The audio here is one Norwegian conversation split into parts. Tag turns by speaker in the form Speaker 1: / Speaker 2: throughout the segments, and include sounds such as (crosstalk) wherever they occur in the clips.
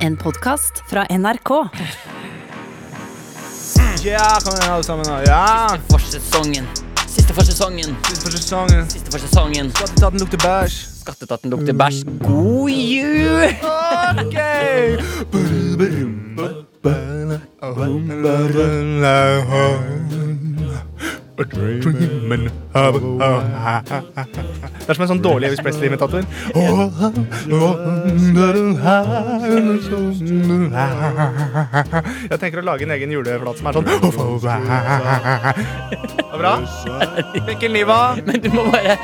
Speaker 1: En podkast fra NRK.
Speaker 2: Ja, kom igjen alle sammen nå. Ja,
Speaker 3: for sesongen. Siste for sesongen.
Speaker 2: siste for sesongen.
Speaker 3: Siste for sesongen.
Speaker 2: Skattetaten lukter bæsj.
Speaker 3: Skattetaten lukter bæsj. God (laughs) jul!
Speaker 2: Ok! Det er som en sånn dårlig Elvis Presley-imitator. Jeg tenker å lage en egen juleplate som er sånn Det er Bra? Mikkel Niva.
Speaker 3: Men du må bare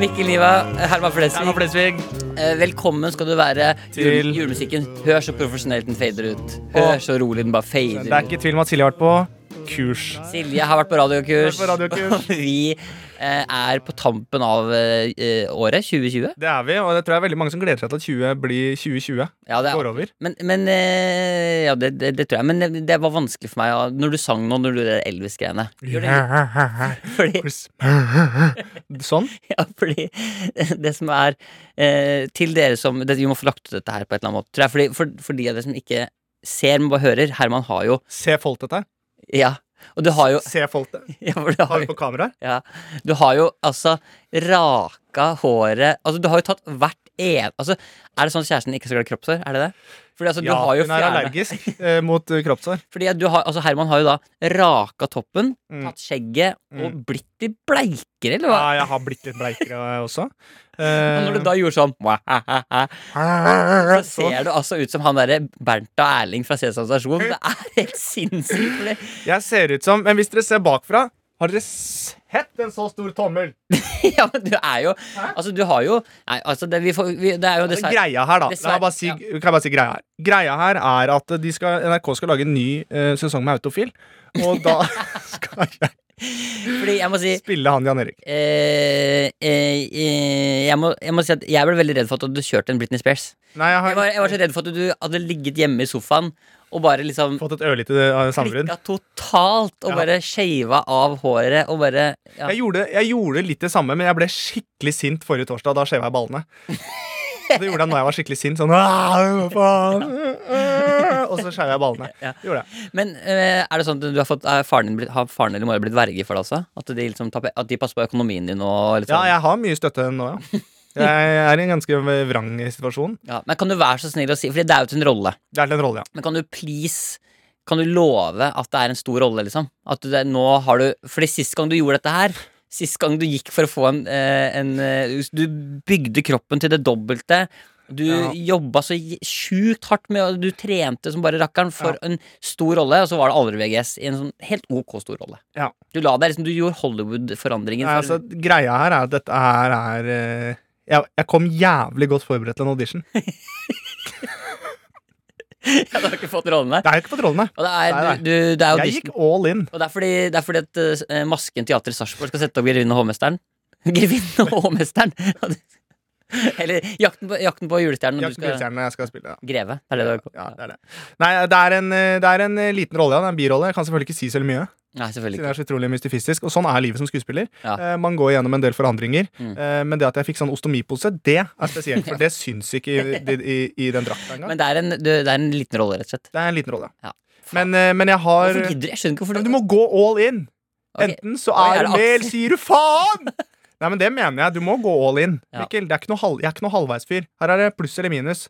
Speaker 3: Mikkel Niva, Herman Flesvig.
Speaker 2: Herman Flesvig.
Speaker 3: Eh, Velkommen skal du være
Speaker 2: Til-
Speaker 3: til julemusikken. Hør så profesjonelt den fader ut. Hør så rolig den bare fader
Speaker 2: Det er ikke
Speaker 3: ut.
Speaker 2: tvil om at Silje har vært på kurs.
Speaker 3: Silje har vært på radiokurs.
Speaker 2: Har vært på radiokurs.
Speaker 3: Og (laughs) Vi eh, er på tampen av eh, eh, året 2020.
Speaker 2: Det er vi, og det tror jeg er veldig mange som gleder seg til at 20 blir 2020.
Speaker 3: Ja, det er
Speaker 2: Går over.
Speaker 3: Men, men eh, Ja, det, det, det tror jeg. Men det, det var vanskelig for meg ja, når du sang nå, når du gjorde det Elvis-greiene. Gjør det- Fordi
Speaker 2: Sånn.
Speaker 3: (laughs) Ja, fordi det som er eh, Til dere som det, Vi må få lagt ut dette her på et eller annet måte. Tror jeg, fordi, for, for de av dere som ikke ser, men bare hører. Herman har jo
Speaker 2: Se folk dette her.
Speaker 3: Ja. Og du
Speaker 2: (laughs)
Speaker 3: har jo,
Speaker 2: Se folk det.
Speaker 3: ja, for du
Speaker 2: Har
Speaker 3: har
Speaker 2: vi
Speaker 3: jo,
Speaker 2: på kamera her?
Speaker 3: ja, du har jo altså raka håret Altså, du har jo tatt hvert en altså, Er det sånn at kjæresten ikke skal ha kroppshår? Er det det? Fordi altså, du
Speaker 2: Ja,
Speaker 3: har jo
Speaker 2: hun er
Speaker 3: fjernet-
Speaker 2: allergisk eh, mot eh, kroppshår.
Speaker 3: Fordi at du har, altså Herman har jo da raka toppen,
Speaker 2: Mm.
Speaker 3: tatt skjegget og blitt litt bleikere,
Speaker 2: Ja,
Speaker 3: eller hva?
Speaker 2: jeg har blitt litt bleikere eh, også.
Speaker 3: Og når du da gjorde sånn
Speaker 2: (laughs)
Speaker 3: "Mwah-ha-ha-ha",
Speaker 2: da
Speaker 3: Så ser du altså ut som han derre Bernt og Erling fra Sesam stasjon. Det er helt sinnssykt. for det-
Speaker 2: Jeg ser ut som Men hvis dere ser bakfra, har dere sett en så stor tommel?
Speaker 3: (laughs) Ja, men du er jo Altså, du har jo Nei, altså, det, vi får, vi, det er jo
Speaker 2: Altså,
Speaker 3: dessverre
Speaker 2: greia her, da. La
Speaker 3: dessverre-
Speaker 2: meg bare si,
Speaker 3: ja.
Speaker 2: Kan jeg bare si greia her? Greia her er at de skal, NRK skal lage en ny eh, sesong med Autofil. Og da (laughs) skal jeg
Speaker 3: Fordi jeg må si
Speaker 2: spille han Jan Erik.
Speaker 3: eh, eh, eh, jeg, må, jeg må si at jeg ble veldig redd for at du hadde kjørt en Britney Spears.
Speaker 2: Nei, jeg har
Speaker 3: Jeg var, jeg var så redd for at du hadde ligget hjemme i sofaen og bare liksom
Speaker 2: fått et ørlite eh, sammenbrudd.
Speaker 3: klikka totalt og
Speaker 2: Ja.
Speaker 3: bare shava av håret og bare ja.
Speaker 2: Jeg gjorde, jeg gjorde litt det samme, men jeg ble skikkelig sint forrige torsdag. Da skjeva jeg ballene. Og Det gjorde jeg når jeg var skikkelig sint. Sånn «Ah, hva faen? Ah, ah», Og så skjeva jeg ballene.
Speaker 3: Ja.
Speaker 2: Gjorde jeg.
Speaker 3: Men eh, er det sånn at du har fått er faren din blitt, Har faren din eller mora blitt verge for deg også? At de, liksom, tapper- at de passer på økonomien din og litt
Speaker 2: Ja,
Speaker 3: sånn?
Speaker 2: jeg har mye støtte nå, ja. Jeg er i en ganske vrang situasjon.
Speaker 3: Ja, Men kan du være så snill å si Fordi det er jo til en rolle.
Speaker 2: Det er til en rolle, ja.
Speaker 3: Men kan du please Kan du love at det er en stor rolle, liksom? At du, det, nå har du Fordi sist gang du gjorde dette her Sist gang du gikk for å få en, eh, en eh, Du bygde kroppen til det dobbelte. Du
Speaker 2: Ja.
Speaker 3: jobba så j- sjukt hardt med og Du trente som bare rakkeren for en stor rolle, og så var det aldri VGS i en sånn helt OK stor rolle.
Speaker 2: Ja.
Speaker 3: Du la deg liksom Du gjorde Hollywood-forandringen.
Speaker 2: Nei, altså,
Speaker 3: (laughs) for-
Speaker 2: greia her er at dette her er eh, jeg, jeg kom jævlig godt forberedt til en audition.
Speaker 3: Du har ikke fått rollene.
Speaker 2: Jeg har ikke fått rollene.
Speaker 3: Og det
Speaker 2: Nei,
Speaker 3: er,
Speaker 2: nei.
Speaker 3: du, du, det er
Speaker 2: Jeg
Speaker 3: audition.
Speaker 2: gikk all in.
Speaker 3: Og det er fordi, det er fordi at eh, Masken Teater i Sarpsborg skal sette opp Grevinnen og hovmesteren. (laughs) Grevinnen og hovmesteren! (laughs) Eller Jakten på, jakten på julestjernen. og
Speaker 2: Jeg
Speaker 3: Du skal
Speaker 2: skal... jeg skal spille, ja.
Speaker 3: greve. Det er det du har
Speaker 2: Ja, det er det. Nei, det er en, eh, det er en eh, liten rolle, ja. Det er en birolle. Jeg kan selvfølgelig ikke si så veldig mye.
Speaker 3: Nei,
Speaker 2: Siden
Speaker 3: selvfølgelig ikke.
Speaker 2: jeg er så utrolig mystifistisk. Og sånn er livet som skuespiller.
Speaker 3: Ja.
Speaker 2: Eh, man går gjennom en del forandringer.
Speaker 3: Mm.
Speaker 2: Eh, men det at jeg fikk sånn ostomipose, det er spesielt.
Speaker 3: (laughs)
Speaker 2: For det syns ikke i, i, i, i den drakta engang.
Speaker 3: Men det er, en, du, det er en liten rolle, rett og slett.
Speaker 2: Det er en liten rolle.
Speaker 3: Ja.
Speaker 2: Men, eh, men jeg har
Speaker 3: Hvorfor gidder du? Jeg skjønner ikke hvorfor
Speaker 2: Men Du må gå all in.
Speaker 3: Ok.
Speaker 2: Enten så
Speaker 3: Oi, er
Speaker 2: er du
Speaker 3: det
Speaker 2: med, eller sier du faen!
Speaker 3: (laughs)
Speaker 2: Nei, men det mener jeg. Du må gå all in.
Speaker 3: Ja.
Speaker 2: Mikkel, det er ikke noe halv, Jeg er ikke noe halvveisfyr. Her er det pluss eller minus.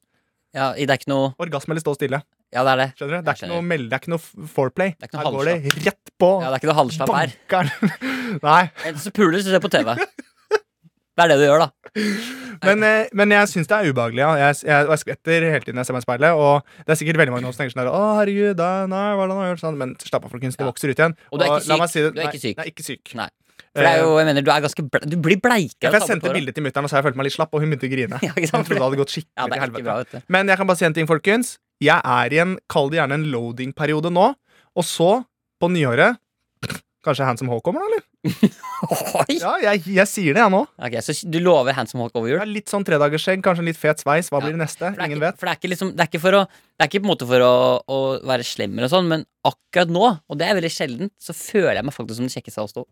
Speaker 3: ja, i- Det er ikke noe
Speaker 2: Orgasme eller stå stille.
Speaker 3: Ja, det er det.
Speaker 2: Skjønner du? Det er
Speaker 3: Jeg
Speaker 2: ikke noe, meld- det er ikke noe f- foreplay.
Speaker 3: er ikke noe
Speaker 2: Her går det rett på.
Speaker 3: Ja, det er ikke noe halvslapp her.
Speaker 2: Bankeren. (laughs) Nei.
Speaker 3: Enten så puler du, så ser du på TV. Det er det du gjør, da.
Speaker 2: Men, eh, men jeg syns det er ubehagelig. Ja. Jeg, jeg, og jeg skvetter hele tiden jeg ser meg i speilet. Og det er sikkert veldig mange nå som tenker sånn her, Å, herregud, da, nei, hva er det han har gjort sånn? Men slapp av, folkens. Det
Speaker 3: Ja.
Speaker 2: vokser ut igjen.
Speaker 3: Og du er ikke
Speaker 2: la
Speaker 3: syk.
Speaker 2: meg det,
Speaker 3: Du er
Speaker 2: nei,
Speaker 3: ikke syk.
Speaker 2: Nei, ikke syk.
Speaker 3: Nei. For det er jo, jeg mener, du er ganske ble, Du blir bleikere.
Speaker 2: Jeg,
Speaker 3: av å
Speaker 2: jeg
Speaker 3: ta bort
Speaker 2: sendte
Speaker 3: håret.
Speaker 2: bildet til mutter'n og sa jeg følte meg litt slapp, og hun begynte å grine.
Speaker 3: (laughs) Ja, ikke
Speaker 2: Hun
Speaker 3: sant?
Speaker 2: trodde det hadde gått skikkelig
Speaker 3: Ja, det
Speaker 2: til
Speaker 3: er ikke
Speaker 2: helvete.
Speaker 3: bra, vet du.
Speaker 2: Men jeg kan bare si en ting, folkens. Jeg er i en, kall det gjerne en loading-periode nå. Og så, på nyåret Kanskje Handsome Hall kommer, da? eller?
Speaker 3: Oi!
Speaker 2: Ja, jeg, jeg sier det, jeg nå.
Speaker 3: Ok, Så du lover Handsome Hawk over jul?
Speaker 2: Jeg er litt sånn tredagersskjegg, kanskje en litt fet sveis. Hva
Speaker 3: Ja.
Speaker 2: blir det neste?
Speaker 3: For det er
Speaker 2: Ingen
Speaker 3: ikke,
Speaker 2: vet.
Speaker 3: for det er ikke liksom Det er ikke, for å, det er ikke på en måte for å, å være slem eller sånn, men akkurat nå, og det er veldig sjelden, så føler jeg meg faktisk som den kjekkeste
Speaker 2: (laughs)
Speaker 3: av oss to.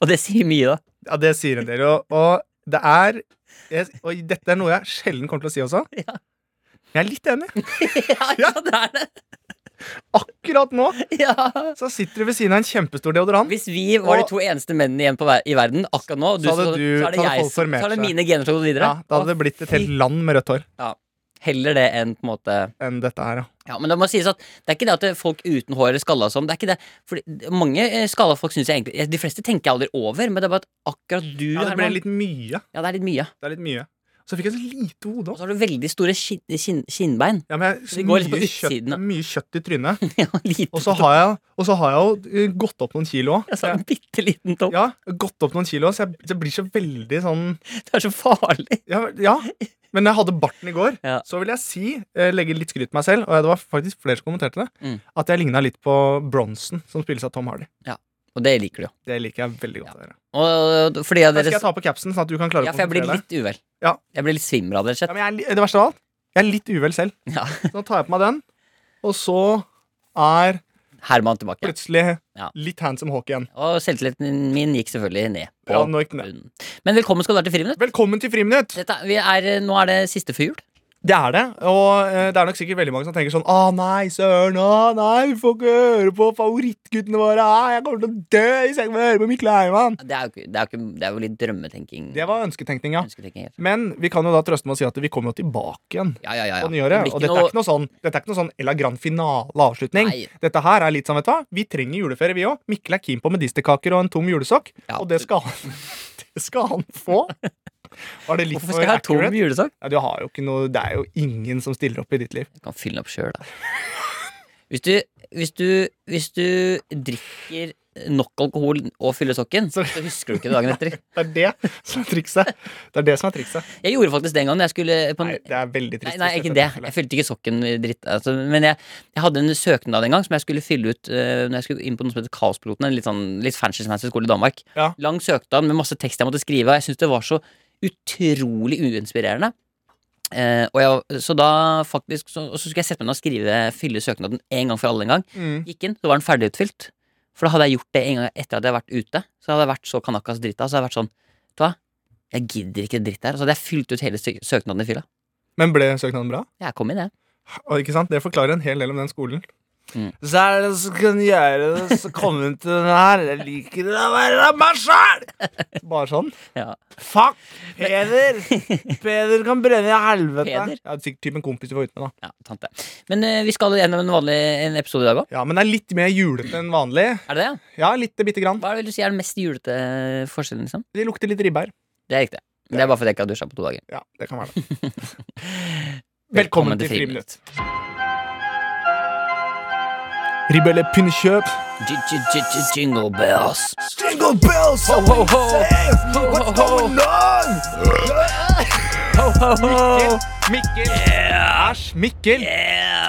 Speaker 3: og det sier mye, da.
Speaker 2: Ja, det sier en del. Og, og det er jeg, Og dette er noe jeg sjelden kommer til å si også.
Speaker 3: Ja.
Speaker 2: Jeg er litt enig.
Speaker 3: (laughs) Ja, ja, det er det.
Speaker 2: Akkurat nå
Speaker 3: Ja.
Speaker 2: så sitter du ved siden av en kjempestor deodorant.
Speaker 3: Hvis vi var de to eneste mennene igjen på ver i verden akkurat nå,
Speaker 2: Så hadde du-
Speaker 3: som- så er det,
Speaker 2: så hadde
Speaker 3: jeg,
Speaker 2: folk
Speaker 3: som-
Speaker 2: formert
Speaker 3: så er det
Speaker 2: seg.
Speaker 3: mine gener som går videre.
Speaker 2: Ja, da hadde det blitt et helt land med rødt hår
Speaker 3: Heller det enn på en måte
Speaker 2: enn dette her, ja.
Speaker 3: Ja, men det må sies at det er ikke det at folk uten hår er skalla som. Det er ikke det. Fordi mange eh, skalla folk syns jeg egentlig De fleste tenker jeg aldri over, men det er bare at akkurat du,
Speaker 2: ja det ble
Speaker 3: Herman
Speaker 2: litt mye.
Speaker 3: Ja, det er litt mye.
Speaker 2: Det er litt mye. Så fikk jeg så lite hode
Speaker 3: Og
Speaker 2: også.
Speaker 3: så har du veldig store skin kinn kinnbein. (laughs)
Speaker 2: Ja, men
Speaker 3: Så vi
Speaker 2: jeg,
Speaker 3: går litt
Speaker 2: mye,
Speaker 3: på
Speaker 2: kjøtt,
Speaker 3: utsiden, da.
Speaker 2: mye kjøtt i trynet.
Speaker 3: ja, lite.
Speaker 2: Og så har jeg, og så har jeg jo eh, gått opp noen kilo
Speaker 3: Og
Speaker 2: òg.
Speaker 3: så en bitte liten topp.
Speaker 2: Ja, gått opp noen kilo, så jeg, så jeg blir så veldig sånn
Speaker 3: Det er så farlig.
Speaker 2: ja, ja. Men jeg hadde barten i går,
Speaker 3: (laughs) Ja.
Speaker 2: så vil jeg si, eh, legge litt skryt til meg selv, og det var faktisk flere som kommenterte det,
Speaker 3: Mm.
Speaker 2: at jeg ligna litt på Bronson, som spilles av Tom Hardy.
Speaker 3: Og det liker du jo.
Speaker 2: Det liker jeg veldig godt. å gjøre.
Speaker 3: Og fordi av
Speaker 2: Her Skal
Speaker 3: dere
Speaker 2: jeg ta på capsen, sånn at du kan klare
Speaker 3: Ja,
Speaker 2: å
Speaker 3: for jeg blir
Speaker 2: konsentrere deg?
Speaker 3: litt uvel.
Speaker 2: Ja.
Speaker 3: Jeg blir litt svimmel av det, rett
Speaker 2: Ja,
Speaker 3: og slett.
Speaker 2: men jeg er, li- det verste av alt, jeg er litt uvel selv.
Speaker 3: Ja. (laughs)
Speaker 2: Så nå tar jeg på meg den, og så er
Speaker 3: Herman tilbake.
Speaker 2: plutselig
Speaker 3: Ja.
Speaker 2: litt handsome Hawk igjen.
Speaker 3: Og selvtilliten min gikk selvfølgelig ned. På
Speaker 2: Ja, nå gikk den ned.
Speaker 3: bunnen. Men velkommen skal du være til Friminutt.
Speaker 2: Velkommen til Friminutt!
Speaker 3: Dette, vi er, eh, nå er det siste før jul.
Speaker 2: Det er det, og eh, det er nok sikkert veldig mange som tenker sånn Å nei, søren, å nei, vi får ikke høre på favorittguttene våre, ah, jeg kommer til å dø hvis jeg ikke får høre på Mikkel Heimann.
Speaker 3: Det er jo, ikke- det er jo, ikke, det er jo litt drømmetenking.
Speaker 2: Det var ønsketenkning, ja.
Speaker 3: Ønsketenking, helt.
Speaker 2: Men vi kan jo da trøste med å si at vi kommer jo tilbake igjen
Speaker 3: Ja, ja, ja, ja.
Speaker 2: på nyåret.
Speaker 3: Det
Speaker 2: Og
Speaker 3: blir
Speaker 2: dette er ikke noe sånn Dette er ikke noe sånn Ella Grand finale-avslutning.
Speaker 3: Nei.
Speaker 2: Dette her er litt sånn, vet du hva. Vi trenger juleferie, vi òg. Mikkel er keen på medisterkaker og en tom julesokk,
Speaker 3: Ja.
Speaker 2: og det skal han (laughs) Det skal han få. Var det litt
Speaker 3: Hvorfor
Speaker 2: for
Speaker 3: skal jeg ha tom
Speaker 2: accurate?
Speaker 3: julesang?
Speaker 2: Nei, du har jo ikke noe Det er jo ingen som stiller opp i ditt liv.
Speaker 3: Du kan fylle den opp sjøl, da. Hvis du, hvis, du, hvis du drikker nok alkohol og fyller sokken, så husker du ikke det dagen etter.
Speaker 2: Det er det som er trikset. Det er det som er trikset.
Speaker 3: Jeg gjorde faktisk det en gang da jeg skulle på en
Speaker 2: Nei, det er veldig
Speaker 3: Nei,
Speaker 2: trist.
Speaker 3: nei,
Speaker 2: hvis
Speaker 3: ikke det.
Speaker 2: dette er
Speaker 3: Jeg fylte ikke sokken i dritt. Altså, men jeg, jeg hadde en søknad en gang som jeg skulle fylle ut eh, Når jeg skulle inn på noe som heter Kaospiloten. En litt, sånn, litt fancy fancy skole i Danmark.
Speaker 2: Ja.
Speaker 3: Lang søknad med masse tekst jeg måtte skrive. Og jeg syntes det var så utrolig uinspirerende. Eh, og jeg, så da faktisk så, Og så skulle jeg sette meg ned og skrive fylle søknaden en gang for alle en gang.
Speaker 2: Mm.
Speaker 3: Gikk inn, så var den ferdigutfylt. For da hadde jeg gjort det en gang etter at jeg hadde vært ute. Så hadde jeg vært så kanakas drita. Så hadde jeg vært sånn Vet du hva, jeg gidder ikke dritt her. Så hadde jeg fylt ut hele sø- søknaden i fylla.
Speaker 2: Men ble søknaden bra?
Speaker 3: Jeg kom inn, jeg.
Speaker 2: Og ikke sant, Det forklarer en hel del om den skolen.
Speaker 3: Mm.
Speaker 2: Så er det som kan gjøre det, så komme inn til den her. Jeg liker å være meg sjæl! Bare sånn.
Speaker 3: Ja.
Speaker 2: Fuck Peder! Peder kan brenne i helvete.
Speaker 3: Peder?
Speaker 2: Ja, det er sikkert typen kompis du får ut med, da.
Speaker 3: Ja, tante. Men eh, vi skal gjennom en vanlig en episode i dag òg.
Speaker 2: Ja, Men det er litt mer julete enn vanlig.
Speaker 3: Er det det?
Speaker 2: Ja, lite bitte grann.
Speaker 3: Hva er det vil du si er den mest julete forskjellen, liksom?
Speaker 2: Det lukter litt ribbe her.
Speaker 3: Det er riktig. Men Det er bare fordi jeg ikke har dusja på to dager.
Speaker 2: Ja, det kan være det. Velkommen til Friminutt. Ribbe eller pinnekjøp?
Speaker 3: J- j- j- j- Jingle bells.
Speaker 2: Jingle bells!
Speaker 3: Ho, ho, ho. Ho, ho, ho.
Speaker 2: on?
Speaker 3: (laughs) Ho, ho, ho.
Speaker 2: Mikkel! Æsj, Mikkel!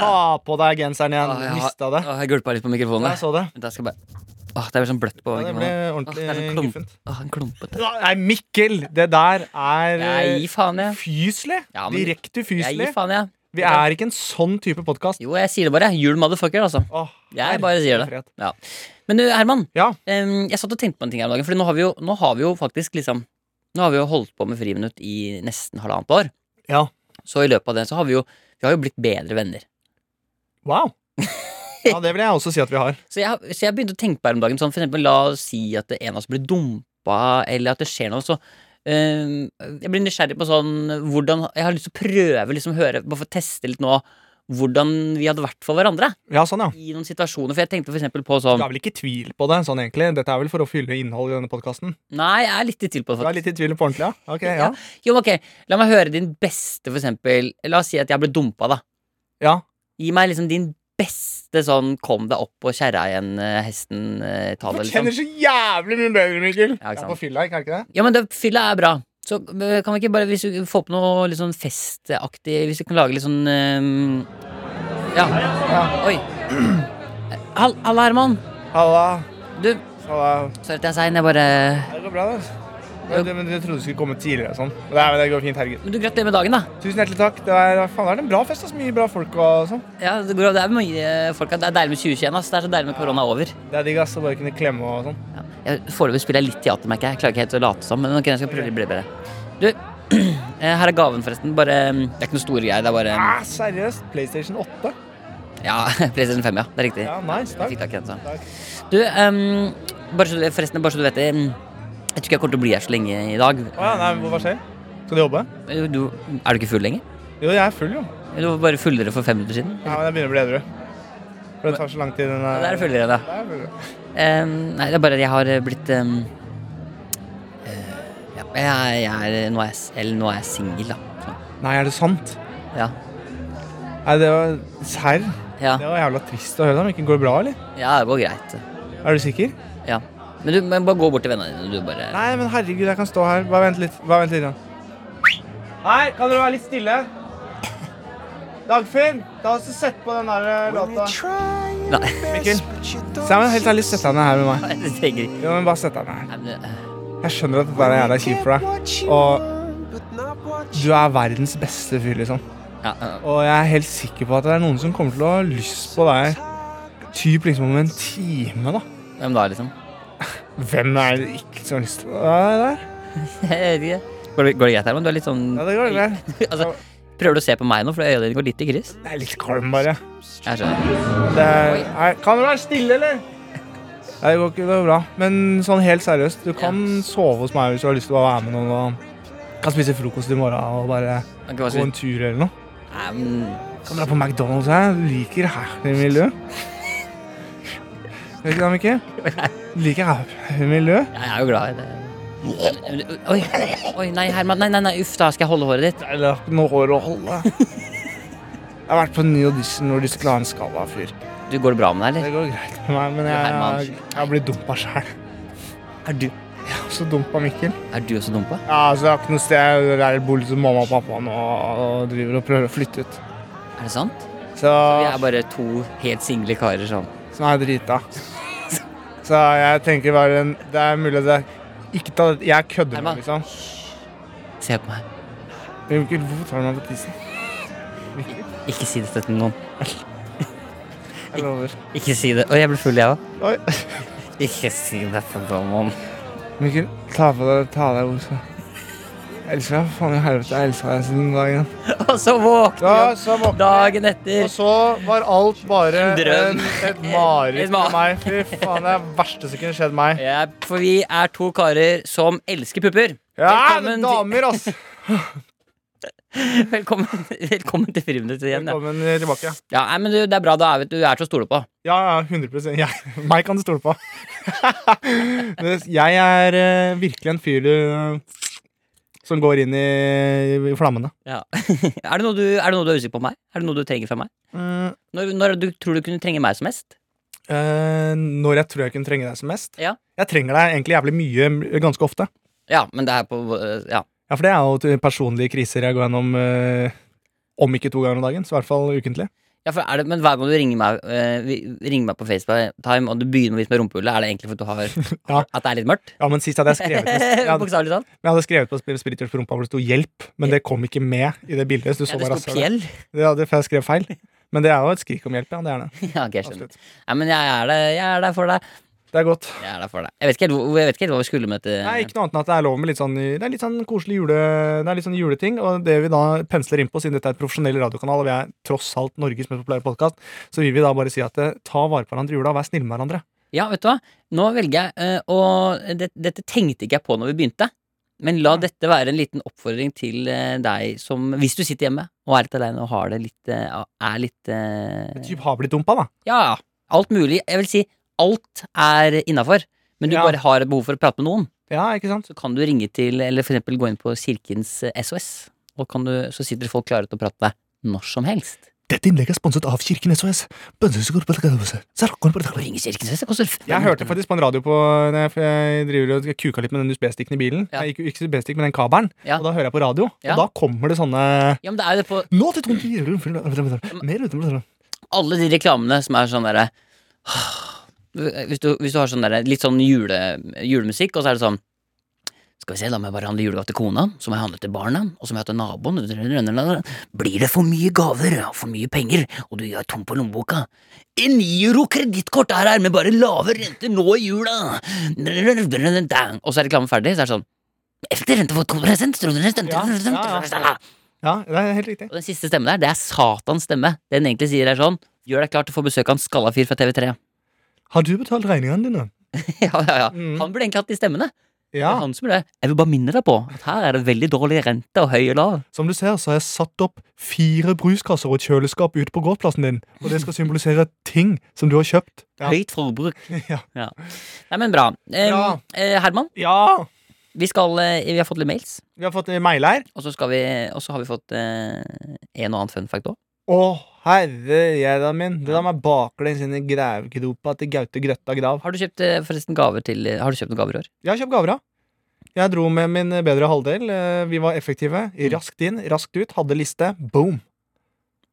Speaker 2: Ta på deg genseren igjen.
Speaker 3: Åh, Ah, jeg har-
Speaker 2: Mista det.
Speaker 3: Åh, jeg gulpa litt på mikrofonen.
Speaker 2: Jeg så det.
Speaker 3: Vent, jeg skal bare Åh, Det er sånn bløtt på
Speaker 2: Ja, det ble
Speaker 3: mikrofonen. Åh, det er
Speaker 2: ordentlig
Speaker 3: sånn klump-
Speaker 2: guffent.
Speaker 3: Åh, en klumpete.
Speaker 2: Nei, Mikkel! Det der er
Speaker 3: Jeg
Speaker 2: eh,
Speaker 3: gir faen, jeg.
Speaker 2: fyselig.
Speaker 3: Ja, men-
Speaker 2: Direkte
Speaker 3: Jeg
Speaker 2: fyselig.
Speaker 3: gir faen, jeg.
Speaker 2: Vi er ikke en sånn type podkast.
Speaker 3: Jo, jeg sier det bare. jeg. Jul motherfucker, altså. Jeg bare sier det. Ja. Men du, Herman.
Speaker 2: Ja.
Speaker 3: em, jeg satt og tenkte på en ting her om dagen. For nå har vi jo, nå har vi jo faktisk liksom Nå har vi jo holdt på med Friminutt i nesten halvannet år.
Speaker 2: Ja.
Speaker 3: Så i løpet av det så har vi jo Vi har jo blitt bedre venner. (laughs)
Speaker 2: Wow. Ja, det vil jeg også si at vi har.
Speaker 3: Så jeg, har- så jeg begynte å tenke på her om dagen sånn, For eksempel, la oss si at en av oss blir dumpa, eller at det skjer noe. Så em, jeg blir nysgjerrig på sånn hvordan Jeg har lyst til å prøve, liksom høre, bare for å teste litt nå, hvordan vi hadde vært for hverandre
Speaker 2: Ja, sånn, ja.
Speaker 3: i noen situasjoner. For jeg tenkte for eksempel på sånn
Speaker 2: Du er vel ikke i tvil på det? sånn egentlig Dette er vel for å fylle innholdet i denne podkasten?
Speaker 3: Nei, jeg er litt i tvil på det,
Speaker 2: Du er litt i tvil på ordentlig, ja? Ok, ja.
Speaker 3: Ja. Jo, men ok, La meg høre din beste, for eksempel. La oss si at jeg ble dumpa, da.
Speaker 2: ja.
Speaker 3: Gi meg liksom din beste sånn kom deg opp på kjerra igjen, eh, hesten, eh, ta det, liksom.
Speaker 2: Kjenner så jævlig mye bedre, Mikkel.
Speaker 3: Ja, ikke
Speaker 2: Det
Speaker 3: sant.
Speaker 2: er på fylla, ikke er ikke det?
Speaker 3: Ja, men det fylla er bra. Så eh, kan vi ikke bare, hvis vi får på noe litt sånn festaktig Hvis vi kan lage litt sånn eh, ja.
Speaker 2: Ja.
Speaker 3: Oi. Hall- Halla, Herman.
Speaker 2: Halla.
Speaker 3: Du,
Speaker 2: Halla.
Speaker 3: sorry at jeg er sein. Jeg bare
Speaker 2: Det går bra, det. Men du- men du trodde du skulle komme tidligere og sånn. Men det, er- men det går fint, herregud.
Speaker 3: Men du, gratulerer med dagen, da.
Speaker 2: Tusen hjertelig takk. Det er, faen, det er en bra fest. Altså. Mye bra folk og sånn.
Speaker 3: Ja, Det, går, det er mye folk her. Det er deilig med 2021. ass. Det er så deilig med korona over.
Speaker 2: Det er digg ass, å bare kunne klemme og sånn.
Speaker 3: Ja. Jeg- Foreløpig spiller jeg litt teater, merker jeg. Jeg klarer ikke helt å late som, men ok, jeg skal prøve å bli bedre. Du, (clears throat) Eh, Her er gaven, forresten. Bare, mm, det er ikke noe store greier. Det er bare mm,
Speaker 2: Ah, seriøst? PlayStation 8?
Speaker 3: Ja, (laughs) PlayStation 5, ja. Det er riktig.
Speaker 2: Ja, nice,
Speaker 3: Jeg
Speaker 2: takk.
Speaker 3: fikk tak i den, så.
Speaker 2: Takk.
Speaker 3: Du, em, bare så, du- forresten, bare så du vet det mm, Jeg tror ikke jeg kommer til å bli her så lenge i dag.
Speaker 2: Å ja, nei, hva skjer? Skal du jobbe?
Speaker 3: Eh, Du, er du ikke full lenger?
Speaker 2: Jo, jeg er full, jo.
Speaker 3: Du var bare fullere for fem minutter siden.
Speaker 2: Ja, men jeg begynner å bli edru. For det tar så lang tid. Den
Speaker 3: Ja, det er fullere, da.
Speaker 2: Det er full.
Speaker 3: Em, nei, det er bare at jeg har eh, blitt em, eh, ja, jeg, jeg er, nå er jeg, s- Eller nå er jeg singel, da. Så,
Speaker 2: Nei, er det sant?
Speaker 3: ja.
Speaker 2: Nei, det var serr.
Speaker 3: Ja.
Speaker 2: Det var jævla trist å høre om det ikke går bra, eller?
Speaker 3: ja, det går greit.
Speaker 2: Er du sikker?
Speaker 3: Ja. Men du men bare gå bort til vennene dine. Du bare
Speaker 2: Nei, men herregud, jeg kan stå her. Bare vent litt. Bare vent litt grann. Nei, kan dere være litt stille? Dagfinn, ta oss og sett på den der eh, låta.
Speaker 3: Nei.
Speaker 2: Mikkel, Sammen, helt ærlig, sett deg ned her med meg.
Speaker 3: Nei, det trenger ikke.
Speaker 2: Jo, men bare sett deg ned her.
Speaker 3: Nei, men, eh,
Speaker 2: Jeg skjønner at dette er jævla kjipt for deg.
Speaker 4: Og
Speaker 2: Du er verdens beste fyr, liksom.
Speaker 3: ja, eh, ja.
Speaker 2: Og jeg er helt sikker på at det er noen som kommer til å ha lyst på deg typ liksom om en time, da.
Speaker 3: Hvem da, liksom? (laughs)
Speaker 2: Hvem er det ikke som har lyst på deg der?
Speaker 3: Jeg vet ikke. Går det, går det greit, Herman? Du er litt sånn
Speaker 2: Ja, det går greit.
Speaker 3: (laughs) altså, Prøver du å se på meg nå, for øynene dine går litt i kryss?
Speaker 2: Det er litt kvalm, bare.
Speaker 3: Jeg skjønner.
Speaker 2: Det er, er, kan du være stille, eller? Nei, det går ikke det går bra. Men sånn helt seriøst, du kan sove hos meg hvis du har lyst til å være med noen. Og kan spise frokost i morgen og bare
Speaker 3: Ok, hva
Speaker 2: gå
Speaker 3: skal vi-
Speaker 2: en tur eller noe.
Speaker 3: Nei, men-
Speaker 2: Kan dra på McDonald's her. Du liker her miljø. Vet du det, Mikkel? Du liker her miljø.
Speaker 3: Jeg er jo glad i det. Oi, oi, nei, Herman. Nei, nei, nei, uff da. Skal jeg holde håret ditt?
Speaker 2: Nei, det har ikke noe hår å holde. Jeg har vært på en ny audition hvor de skulle ha en skalla fyr.
Speaker 3: Du, Går det bra med deg,
Speaker 2: Det
Speaker 3: eller?
Speaker 2: går greit med meg, men jeg,
Speaker 3: Herman.
Speaker 2: jeg har blitt dumpa sjæl.
Speaker 3: Er du,
Speaker 2: Så dumpa Mikkel.
Speaker 3: er du også dumpa?
Speaker 2: Ja, altså, jeg har ikke noe sted. Det er bolig som mamma og pappa nå og driver og prøver å flytte ut.
Speaker 3: Er det sant?
Speaker 2: Så,
Speaker 3: Vi er bare to helt single karer sånn.
Speaker 2: som er drita. (laughs) Så jeg tenker bare en- Det er mulig at jeg ikke tar Jeg kødder
Speaker 3: Herman.
Speaker 2: med liksom.
Speaker 3: Se på meg.
Speaker 2: Mikkel, hvorfor tar du meg på tissen?
Speaker 3: Ikke si dette til noen.
Speaker 2: Jeg lover.
Speaker 3: Ikke si det. Oi, jeg ble full, jeg òg.
Speaker 2: Oi.
Speaker 3: Ikke si dette til noen.
Speaker 2: (laughs) Mikkel, ta på deg ta av deg buksa. Elsker deg, faen i helvete. Jeg elsker deg siden dagen.
Speaker 3: (laughs) Og så våkner
Speaker 2: Ja,
Speaker 3: jeg
Speaker 2: så våkna jeg.
Speaker 3: dagen
Speaker 2: Og
Speaker 3: etter.
Speaker 2: så var alt bare
Speaker 3: En drøm.
Speaker 2: en, et mareritt
Speaker 3: (laughs) Et ma-
Speaker 2: for meg. Fy faen, det er det verste som kunne skjedd meg.
Speaker 3: Ja, for vi er to karer som elsker pupper. (laughs)
Speaker 2: Ja,
Speaker 3: Velkommen til-
Speaker 2: damer, ass!
Speaker 3: Velkommen, velkommen til Friminuttet igjen. Ja.
Speaker 2: Velkommen tilbake.
Speaker 3: Ja, nei, men du, det er bra. Da er vi, du er til å stole på.
Speaker 2: Ja, ja, 100 ja, (laughs) Meg kan du stole på. (laughs) Det- Jeg er eh, virkelig en fyr du eh, som går inn i, i flammene.
Speaker 3: Ja. (laughs) er, det noe du, er det noe du er usikker på meg? Er det noe du trenger fra meg?
Speaker 2: Mm,
Speaker 3: Når, når du tror du kunne trenge meg som mest?
Speaker 2: eh, når jeg tror jeg kunne trenge deg som mest.
Speaker 3: Ja.
Speaker 2: Jeg trenger deg egentlig jævlig mye ganske ofte.
Speaker 3: Ja, men det er på øh, Ja.
Speaker 2: Ja, for det er jo til personlige kriser jeg går gjennom eh, om ikke to ganger om dagen, så i hvert fall ukentlig.
Speaker 3: ja for er det, men hver gang du ringer meg, øh, vi- ringer meg på FaceTime, og du begynner litt med rumpehullet, er det egentlig fordi du har
Speaker 2: (laughs) Ja.
Speaker 3: At det er litt mørkt?
Speaker 2: Ja, men sist hadde jeg skrevet på, jeg hadde,
Speaker 3: (laughs) Bokstavelig talt.
Speaker 2: jeg hadde skrevet på Spirit- Spiriters på rumpa hvor det sto 'hjelp', men det kom ikke med i det bildet. Så du
Speaker 3: Ja,
Speaker 2: så
Speaker 3: det
Speaker 2: bare
Speaker 3: sto
Speaker 2: rasshølet.
Speaker 3: pjell.
Speaker 2: Ja, det, for jeg skrev feil. Men det er jo et skrik om hjelp, ja. Det er det.
Speaker 3: (laughs) Ja, ok, jeg skjønner.
Speaker 2: Absolutt.
Speaker 3: Nei, men jeg er, der, jeg er der for deg.
Speaker 2: Det er godt.
Speaker 3: Jeg er der for deg. Jeg vet ikke helt, hvor- jeg vet ikke helt hva vi skulle med dette.
Speaker 2: Nei, ikke noe annet enn at det er lov med litt sånn Det er litt sånn koselig jule... Det er litt sånn juleting, og det vi da pensler inn på, siden dette er et profesjonell radiokanal, og vi er tross alt Norges mest populære podkast, så vil vi da bare si at eh, ta vare på hverandre i jula, og vær snille med hverandre.
Speaker 3: Ja, vet du hva? Nå velger jeg eh, å det, Dette tenkte ikke jeg på når vi begynte. Men la dette være en liten oppfordring til eh, deg som Hvis du sitter hjemme og er litt aleine og har det litt eh, Er litt eh,
Speaker 2: Typ har blitt dumpa, da.
Speaker 3: Ja, alt mulig. Jeg vil si alt er innafor. Men du
Speaker 2: Ja.
Speaker 3: bare har et behov for å prate med noen.
Speaker 2: Ja, ikke sant?
Speaker 3: Så kan du ringe til Eller for eksempel gå inn på Kirkens eh, SOS, og kan du, så sitter folk klare til å prate med deg når som helst.
Speaker 2: Dette innlegget er sponset av Kirken SOS.
Speaker 3: Å ringe Kirkens SOS det koster fem
Speaker 2: Jeg hørte
Speaker 3: minutter.
Speaker 2: faktisk på en radio på når jeg- for Jeg driver og kuka litt med den USB-stikken i bilen.
Speaker 3: Ja.
Speaker 2: Jeg gikk jo ikke USB-stikk, men den kabelen.
Speaker 3: Ja.
Speaker 2: Og da hører jeg på radio,
Speaker 3: Ja.
Speaker 2: og da kommer det sånne
Speaker 3: Ja, men det er jo det på
Speaker 2: Nå til tomt i
Speaker 3: Mm.
Speaker 2: jule- Mer utenfor
Speaker 3: alle de reklamene som er sånn derre hvis du, hvis du har sånn derre litt sånn jule, julemusikk, og så er det sånn Skal vi se, da må jeg bare handle julegave til kona, så må jeg handle til barna, og så må jeg til naboen Blir det for mye gaver og for mye penger, og du gjør tom på lommeboka? En euro kredittkort er her med bare lave renter nå i jula! Og så er reklamen ferdig, så er det sånn Effektiv rente for 2%
Speaker 4: Ja, ja, ja. Ja, det er helt riktig.
Speaker 3: Og den siste stemmen der, det er Satans stemme. Det den egentlig sier, er sånn Gjør deg klar til å få besøk av en skalla fyr fra TV3.
Speaker 4: Har du betalt regningene dine?
Speaker 3: (laughs) ja, ja, ja.
Speaker 4: Mm.
Speaker 3: Han burde egentlig hatt de stemmene. Det
Speaker 4: Ja.
Speaker 3: er han som burde Jeg vil bare minne deg på at her er det veldig dårlig rente og høy og lav.
Speaker 4: Som du ser, så har jeg satt opp fire bruskasser og et kjøleskap ute på gårdsplassen din. Og det skal symbolisere ting som du har kjøpt. Ja.
Speaker 3: Høyt forbruk.
Speaker 4: (laughs) Ja.
Speaker 3: Nei, men bra. Eh,
Speaker 4: Bra.
Speaker 3: eh, Herman,
Speaker 4: ja.
Speaker 3: vi, skal, eh, vi har fått litt mails.
Speaker 4: Vi har fått en mail her.
Speaker 3: Og så, skal vi, og så har vi fått eh, en og annen fun fact òg.
Speaker 4: Å, herre jævla min. Det der med baklengs inn i grævgropa til Gaute Grøtta Grav.
Speaker 3: Har du kjøpt eh, forresten gaver til Har du kjøpt noen gaver i år?
Speaker 4: Jeg har kjøpt gaver, ja. Jeg dro med min bedre halvdel. Eh, Vi var effektive. Raskt inn, raskt ut. Hadde liste. Boom.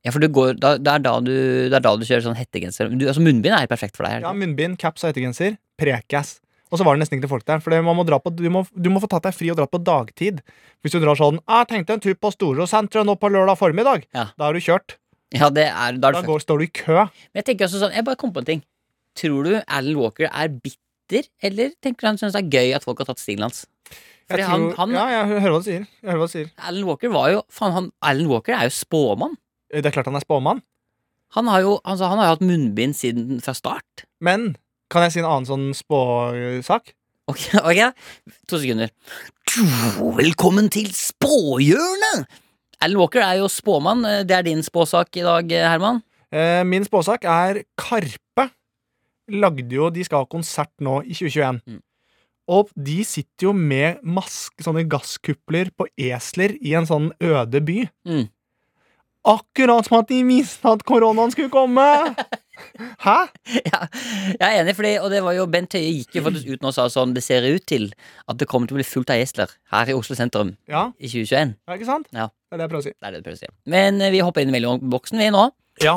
Speaker 3: Ja, for du går, da, det, er da du, det er da du kjører sånn hettegenser. Du, altså Munnbind er helt perfekt for deg. er det
Speaker 4: Ja,
Speaker 3: ikke?
Speaker 4: Munnbind, caps og hettegenser. Prekass. Og så var det nesten ikke folk der. For det- man må dra på, du, må, du må få tatt deg fri og dra på dagtid. Hvis du drar sånn «Ah, 'Jeg tenkte en tur på Storosenteret nå på lørdag formiddag',
Speaker 3: Ja.
Speaker 4: da er du kjørt.
Speaker 3: ja, det er, da er
Speaker 4: Da
Speaker 3: det fucked.
Speaker 4: går, står du i kø.
Speaker 3: Men jeg tenker også sånn, jeg bare kom på en ting. Tror du Alan Walker er bitter, eller tenker han synes det er gøy at folk har tatt stilen hans? Fordi
Speaker 4: Jeg
Speaker 3: han,
Speaker 4: tror-
Speaker 3: han,
Speaker 4: Ja, jeg hører hva du sier. Jeg hører hva du sier.
Speaker 3: Alan Walker var jo Faen, han, Alan Walker er jo spåmann.
Speaker 4: Det er klart han er spåmann.
Speaker 3: Han har jo, altså, han har jo hatt munnbind siden fra start. (laughs)
Speaker 4: Men kan jeg si en annen sånn spåsak?
Speaker 3: Ok, ok, to sekunder. Velkommen til spåhjørnet! Alan Walker er jo spåmann. Det er din spåsak i dag, Herman. (laughs)
Speaker 4: Eh, min spåsak er Karpe. Lagde jo De skal ha konsert nå i 2021.
Speaker 3: Mm.
Speaker 4: Og de sitter jo med maske, sånne gasskupler på esler i en sånn øde by.
Speaker 3: Mm.
Speaker 4: Akkurat som at de visste at koronaen
Speaker 3: (laughs)
Speaker 4: skulle komme! Hæ?
Speaker 3: Ja, jeg er enig, fordi, og det var jo Bent Høie gikk jo faktisk ut nå og sa sånn Det ser ut til at det kommer til å bli fullt av gjester her i Oslo sentrum
Speaker 4: Ja,
Speaker 3: i 2021.
Speaker 4: er det ikke sant?
Speaker 3: Ja.
Speaker 4: Det er det jeg prøver å si.
Speaker 3: Det er det du prøver å si. Men eh, vi hopper inn i mellomboksen, vi nå.
Speaker 4: Ja.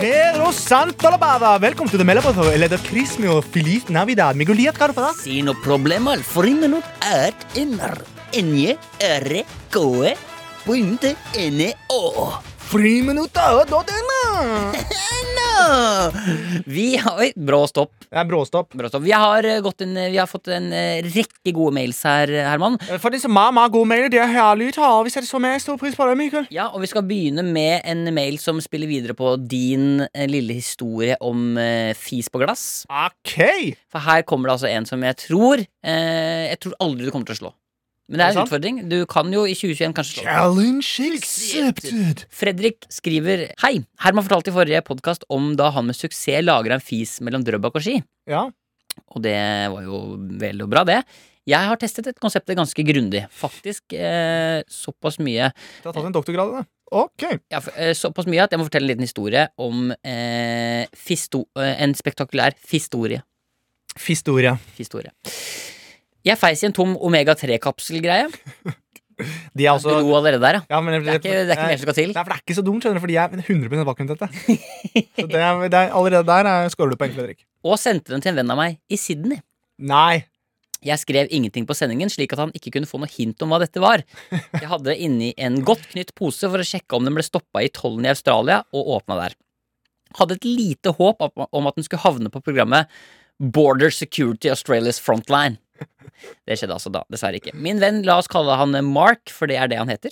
Speaker 4: Pero santo la baba. Velkommen til det mellområdet. Eller det prisme og feliz navidad. med Goliat Karpa.
Speaker 3: Si noe problemer, friminut er inner. Enje øre gåe bunte ene å.
Speaker 4: Friminutter.no.
Speaker 3: Nå! Vi har Oi, brå stopp.
Speaker 4: Det er bråstopp.
Speaker 3: Brå stopp. Vi har, eh, gått en, vi har fått en eh, rekke gode mails her, eh, Herman.
Speaker 4: Øh, For det er så meget, meget gode mailer. Det er herlig tale. Vi setter så meget stor pris på det, Mikkel.
Speaker 3: Ja, og vi skal begynne med en mail som spiller videre på din eh, lille historie om eh, fis på glass.
Speaker 4: Ok.
Speaker 3: For her kommer det altså en som jeg tror eh, Jeg tror aldri du kommer til å slå. Men det er
Speaker 4: Er det
Speaker 3: en
Speaker 4: sant?
Speaker 3: utfordring. Du kan jo i 2021 kanskje slå.
Speaker 4: Challenge accepted.
Speaker 3: Fredrik skriver Hei, Herman fortalte i forrige podkast om da han med suksess lager en fis mellom Drøbak og Ski.
Speaker 4: Ja.
Speaker 3: Og det var jo vel og bra, det. Jeg har testet et konsept ganske grundig. Faktisk eh, såpass mye
Speaker 4: Du har tatt en doktorgrad i det. Ok.
Speaker 3: ja, for, eh, såpass mye at jeg må fortelle en liten historie om eh, fisto, eh, en spektakulær fistorie.
Speaker 4: Fistoria.
Speaker 3: Historie. Jeg feis i en tom omega-3-kapselgreie.
Speaker 4: De er
Speaker 3: Du
Speaker 4: altså
Speaker 3: lo allerede der, ja.
Speaker 4: ja, men,
Speaker 3: Det er ikke, det er ikke mer som skal til.
Speaker 4: Nei, for det er ikke så dumt, skjønner du, fordi jeg er 100 bakgrunn til dette. Så det er, det er, allerede der er- scorer du poeng, Fredrik.
Speaker 3: Og sendte den til en venn av meg i Sydney.
Speaker 4: Nei.
Speaker 3: Jeg skrev ingenting på sendingen, slik at han ikke kunne få noe hint om hva dette var. Jeg hadde det inni en godt knytt pose for å sjekke om den ble stoppa i tollen i Australia, og åpna der. Hadde et lite håp om- om at den skulle havne på programmet Border Security Australias Frontline. Det skjedde altså da, dessverre ikke. Min venn, la oss kalle han Mark, for det er det han heter,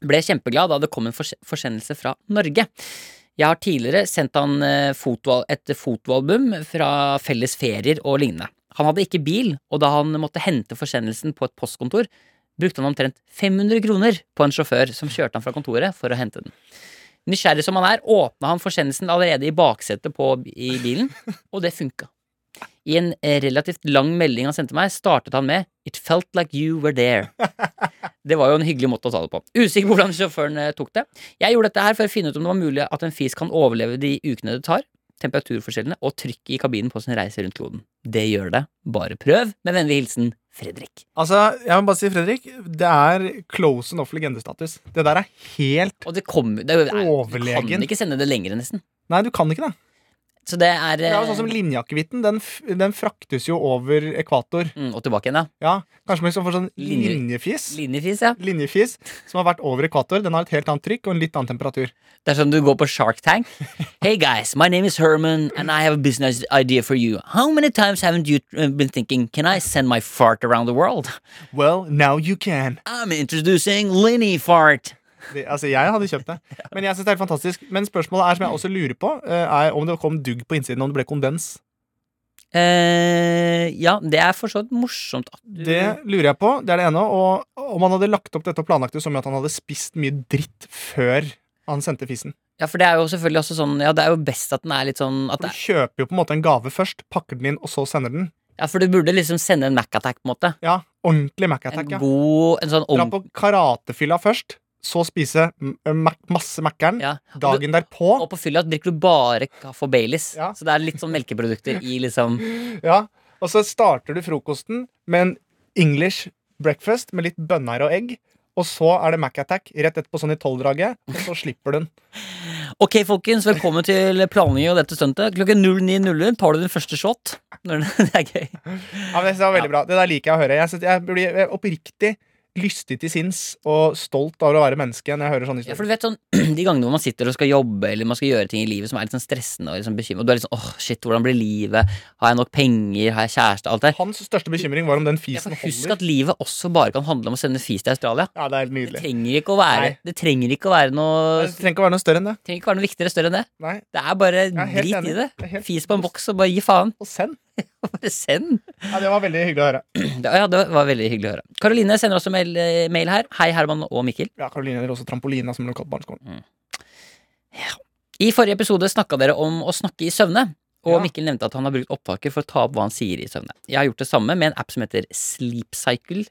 Speaker 3: ble kjempeglad da det kom en forse- forsendelse fra Norge. Jeg har tidligere sendt han eh, foto, et fotoalbum fra felles ferier og lignende. Han hadde ikke bil, og da han måtte hente forsendelsen på et postkontor, brukte han omtrent 500 kroner på en sjåfør som kjørte han fra kontoret for å hente den. Nysgjerrig som han er, åpna han forsendelsen allerede i baksetet på, i bilen, og det funka. I en eh, relativt lang melding han sendte meg, startet han med It felt like you were there. Det var jo en hyggelig måte å ta det på. Usikker på hvordan sjåføren eh, tok det. Jeg gjorde dette her for å finne ut om det var mulig at en fis kan overleve de ukene det tar, temperaturforskjellene og trykket i kabinen på sin reise rundt kloden. Det gjør det. Bare prøv. Med vennlig hilsen Fredrik.
Speaker 4: Altså, jeg må bare si, Fredrik, det er close enough legendestatus. Det der er helt
Speaker 3: Og det kommer det er jo- nei, Du
Speaker 4: Overlegen.
Speaker 3: kan ikke sende det lenger, nesten.
Speaker 4: Nei, du kan ikke det.
Speaker 3: Så det er
Speaker 4: Det
Speaker 3: eh,
Speaker 4: er jo sånn som Linjakevitten, den, f- den fraktes jo over ekvator.
Speaker 3: mm, Og tilbake igjen, ja.
Speaker 4: Ja, Kanskje man liksom får sånn
Speaker 3: Linje-
Speaker 4: linjefis.
Speaker 3: Linjefis, ja.
Speaker 4: Linjefis som har vært over ekvator. Den har et helt annet trykk og en litt annen temperatur.
Speaker 3: Det er sånn du går på Shark
Speaker 4: (laughs)
Speaker 3: Tank. Hey guys, my name is Herman, and I have a business idea for you. How many times haven't you uh, been thinking, can I send my fart around the world?
Speaker 4: Well, now you can.
Speaker 3: I'm introducing Linny Fart.
Speaker 4: Det, altså, jeg hadde
Speaker 3: (laughs)
Speaker 4: kjøpt det. Men jeg synes det er helt fantastisk. Men spørsmålet er, som jeg også lurer på, eh, er om det kom dugg på innsiden, om det ble kondens.
Speaker 3: Eh, ja, det er for så vidt morsomt at du
Speaker 4: Det lurer jeg på. Det er det ene. Og om han hadde lagt opp dette og planlagt det som at han hadde spist mye dritt før han sendte fisen.
Speaker 3: Ja, for det er jo selvfølgelig også sånn Ja, det er jo best at den er litt sånn at
Speaker 4: For
Speaker 3: det,
Speaker 4: du kjøper jo på en måte en gave først, pakker den inn, og så sender den.
Speaker 3: Ja, for du burde liksom sende en Mac Attack, på en måte.
Speaker 4: Ja, ordentlig
Speaker 3: En
Speaker 4: Mac-attack. Ja.
Speaker 3: god En sånn
Speaker 4: Dra
Speaker 3: om...
Speaker 4: på karatefylla først, så spise m- Mac, masse Mac-eren
Speaker 3: Ja. Og du-
Speaker 4: dagen derpå.
Speaker 3: Og på fylla drikker du bare kaffe og Baileys.
Speaker 4: Ja.
Speaker 3: Så det er litt sånn melkeprodukter i liksom
Speaker 4: Ja, og så starter du frokosten med en English breakfast med litt bønner og egg. Og så er det Mac-attack rett etterpå, sånn i tolvdraget. Og så slipper du den.
Speaker 3: Ok, folkens, velkommen til planlegging av dette stuntet. Klokken 09.00 tar du din første shot. Når den- Det (laughs) er gøy.
Speaker 4: Ja, men jeg synes Det var veldig bra. Det der liker jeg å høre. Jeg, synes, jeg blir oppriktig lystig til sinns og stolt over å være menneske når jeg hører sånne
Speaker 3: Ja, for
Speaker 4: historier.
Speaker 3: du vet sånn, (clears throat) De gangene hvor man sitter og skal jobbe eller man skal gjøre ting i livet som er litt sånn stressende og liksom bekymret, og du er litt sånn åh, shit, hvordan blir livet? Har jeg nok penger? Har jeg kjæreste? Alt det.
Speaker 4: Hans største bekymring var om den
Speaker 3: Ja, for
Speaker 4: fisen
Speaker 3: husk
Speaker 4: holder.
Speaker 3: at livet også bare kan handle om å sende fis til Australia.
Speaker 4: Ja, det er helt
Speaker 3: Det
Speaker 4: nydelig.
Speaker 3: trenger ikke å være,
Speaker 4: Nei.
Speaker 3: det trenger ikke å være noe
Speaker 4: Det trenger ikke å være noe større enn det.
Speaker 3: det trenger ikke å være noe viktigere større enn det.
Speaker 4: Nei,
Speaker 3: Det er bare
Speaker 4: jeg er helt
Speaker 3: drit
Speaker 4: enig.
Speaker 3: i det.
Speaker 4: Jeg er helt-
Speaker 3: Fis på en boks og bare gi faen. (laughs)
Speaker 4: Og send.
Speaker 3: Bare send.
Speaker 4: Ja, det var veldig hyggelig å høre.
Speaker 3: Det, ja, det var veldig hyggelig å høre. Karoline sender også mail, eh, mail her. Hei, Herman og Mikkel.
Speaker 4: Ja, Karoline gjelder også trampolina som lokalt barneskolen.
Speaker 3: Mm. I forrige episode snakka dere om å snakke i søvne. Og
Speaker 4: Ja.
Speaker 3: Mikkel nevnte at han har brukt opptaket for å ta opp hva han sier i søvne. Jeg har gjort det samme med en app som heter Sleep Cycle.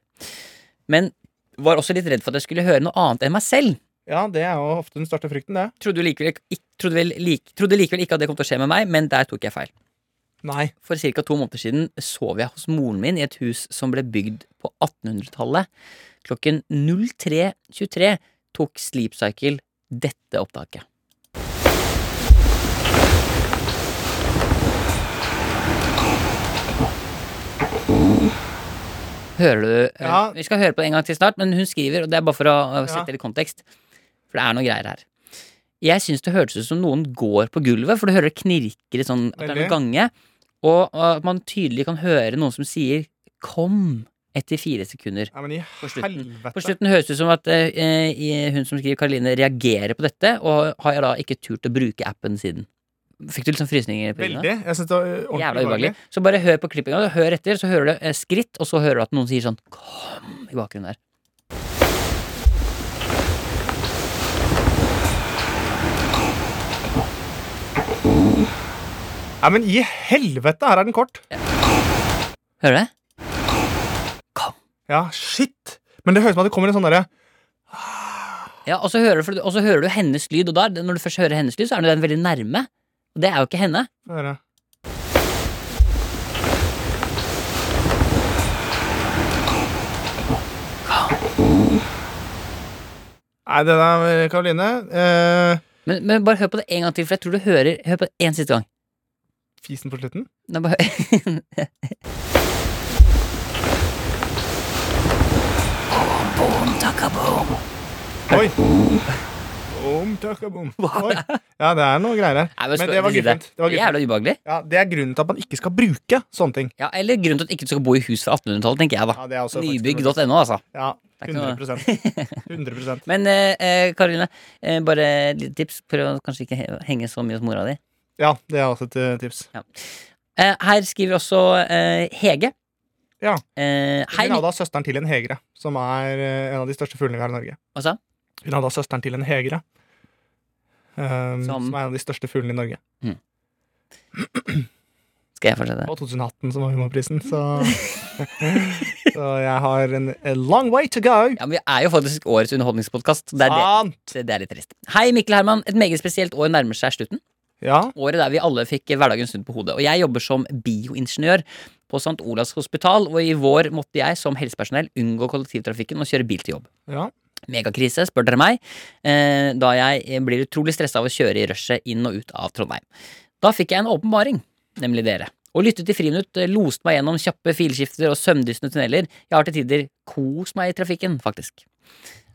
Speaker 3: Men var også litt redd for at jeg skulle høre noe annet enn meg selv.
Speaker 4: Ja, det er jo ofte den største frykten, det.
Speaker 3: Trodde, jo likevel, ikke- ikk- trodde, vel, lik, trodde likevel ikke at det kom til å skje med meg, men der tok jeg feil.
Speaker 4: Nei.
Speaker 3: For ca. to måneder siden sov jeg hos moren min i et hus som ble bygd på 1800-tallet. Klokken 03.23 tok Sleep Cycle dette opptaket. Hører du eh,
Speaker 4: Ja.
Speaker 3: Vi skal høre på det en gang til snart, men hun skriver, og det er bare for å eh,
Speaker 4: Ja.
Speaker 3: sette litt kontekst, for det er noe greier her. Jeg syns det hørtes ut som noen går på gulvet, for du hører det knirker i sånn at det er
Speaker 4: Veldig.
Speaker 3: noen gange. Og og at man tydelig kan høre noen som sier 'kom' etter fire sekunder.
Speaker 4: Nei, men i
Speaker 3: På slutten.
Speaker 4: helvete.
Speaker 3: På slutten høres det ut som at eh, eh, hun som skriver Karoline, reagerer på dette, og har jeg da ikke turt å bruke appen siden. Fikk du litt sånn frysninger? Pernille?
Speaker 4: Veldig. Jeg synes det var ø, ordentlig
Speaker 3: Jævla ubehagelig. Så bare hør på klippinga, og hør etter, så hører du eh, skritt, og så hører du at noen sier sånn 'kom' i bakgrunnen der.
Speaker 4: Nei, men i helvete, her er den kort.
Speaker 3: Hører du det?
Speaker 4: Ja, shit. Men det høres ut som at det kommer en sånn derre
Speaker 3: Ja, og så, hører du, og så hører du hennes lyd, og da, er det- når du først hører hennes lyd, så er den veldig nærme. Og det er jo ikke henne.
Speaker 4: Høre. Nei, det der, Karoline eh,
Speaker 3: Men, men bare hør på det en gang til, for jeg tror du hører Hør på det en siste gang.
Speaker 4: Fisen på slutten?
Speaker 3: Nei, bare, (laughs)
Speaker 4: Oi! Boom, takka, boom. Oi. Ja, det er noe greier her.
Speaker 3: Nei,
Speaker 4: Men det var guffent. Det, var guffent.
Speaker 3: Jævla ubehagelig.
Speaker 4: Ja, det er grunnen til at man ikke skal bruke sånne ting.
Speaker 3: Ja, Eller grunnen til at ikke du skal bo i hus fra 1800-tallet, tenker jeg, da.
Speaker 4: Ja, det er også faktisk-
Speaker 3: Nybygg.no, altså.
Speaker 4: Ja,
Speaker 3: er ikke noe- (laughs)
Speaker 4: 100 100
Speaker 3: Men eh, eh, Karoline, eh, bare et lite tips. Prøv å kanskje ikke he- henge så mye hos mora di.
Speaker 4: Ja, det er også et eh, tips.
Speaker 3: Eh, her skriver også eh, Hege.
Speaker 4: Ja.
Speaker 3: Eh, hei,
Speaker 4: Hun hadde da søsteren til en hegre, som er eh, en av de største fuglene vi har i Norge.
Speaker 3: Hva sa?
Speaker 4: Hun hadde da søsteren til en hegre, ehm,
Speaker 3: Som-
Speaker 4: som... er en av de største fuglene i Norge.
Speaker 3: Skal jeg fortsette?
Speaker 4: Og 2018 som var humorprisen, så (laughs) Så jeg har en a long way to go.
Speaker 3: Ja, men Vi er jo faktisk årets underholdningspodkast. Det, er det,
Speaker 4: Faen!
Speaker 3: det- det er litt trist. Hei, Mikkel Herman. Et meget spesielt år nærmer seg slutten.
Speaker 4: Ja,
Speaker 3: året der vi alle fikk hverdagen snudd på hodet. Og jeg jobber som bioingeniør på St. Olavs hospital, og i vår måtte jeg som helsepersonell unngå kollektivtrafikken og kjøre bil til jobb.
Speaker 4: ja.
Speaker 3: Megakrise, spør dere meg, eh, da jeg blir utrolig stressa av å kjøre i rushet inn og ut av Trondheim. Da fikk jeg en åpenbaring, nemlig dere. Å lytte til Friminutt eh, loste meg gjennom kjappe filskifter og søvndysende tunneler. Jeg har til tider kost meg i trafikken, faktisk.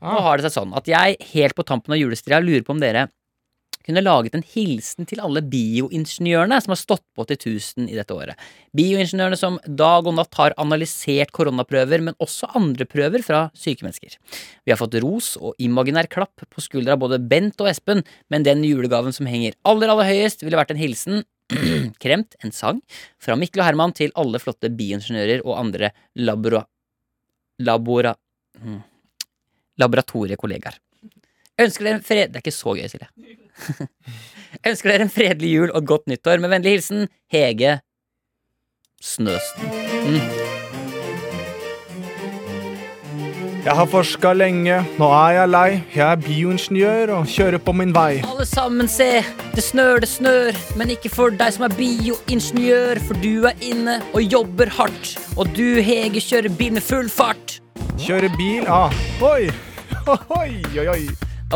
Speaker 3: Nå
Speaker 4: Ah,
Speaker 3: har det seg sånn at jeg helt på tampen av julestria lurer på om dere kunne laget en hilsen til alle bioingeniørene som har stått på til 1000 i dette året. Bioingeniørene som dag og natt har analysert koronaprøver, men også andre prøver fra syke mennesker. Vi har fått ros og imaginær klapp på skuldra av både Bent og Espen, men den julegaven som henger aller, aller høyest, ville vært en hilsen (clears throat) kremt, en sang, fra Mikkel og Herman til alle flotte bioingeniører og andre labora... labora... Mm laboratoriekollegaer. Ønsker dere en fred... Det er ikke så gøy, Silje. Ønsker dere en fredelig jul og et godt nyttår. Med vennlig hilsen Hege Snøsten.
Speaker 4: jeg har forska lenge, nå er jeg lei. Jeg er bioingeniør og kjører på min vei.
Speaker 3: Alle sammen, se! Det snør, det snør. Men ikke for deg som er bioingeniør, for du er inne og jobber hardt. Og du, Hege, kjører bil med full fart.
Speaker 4: Kjører bil ah. Oi! (laughs) Oi, oi, oi.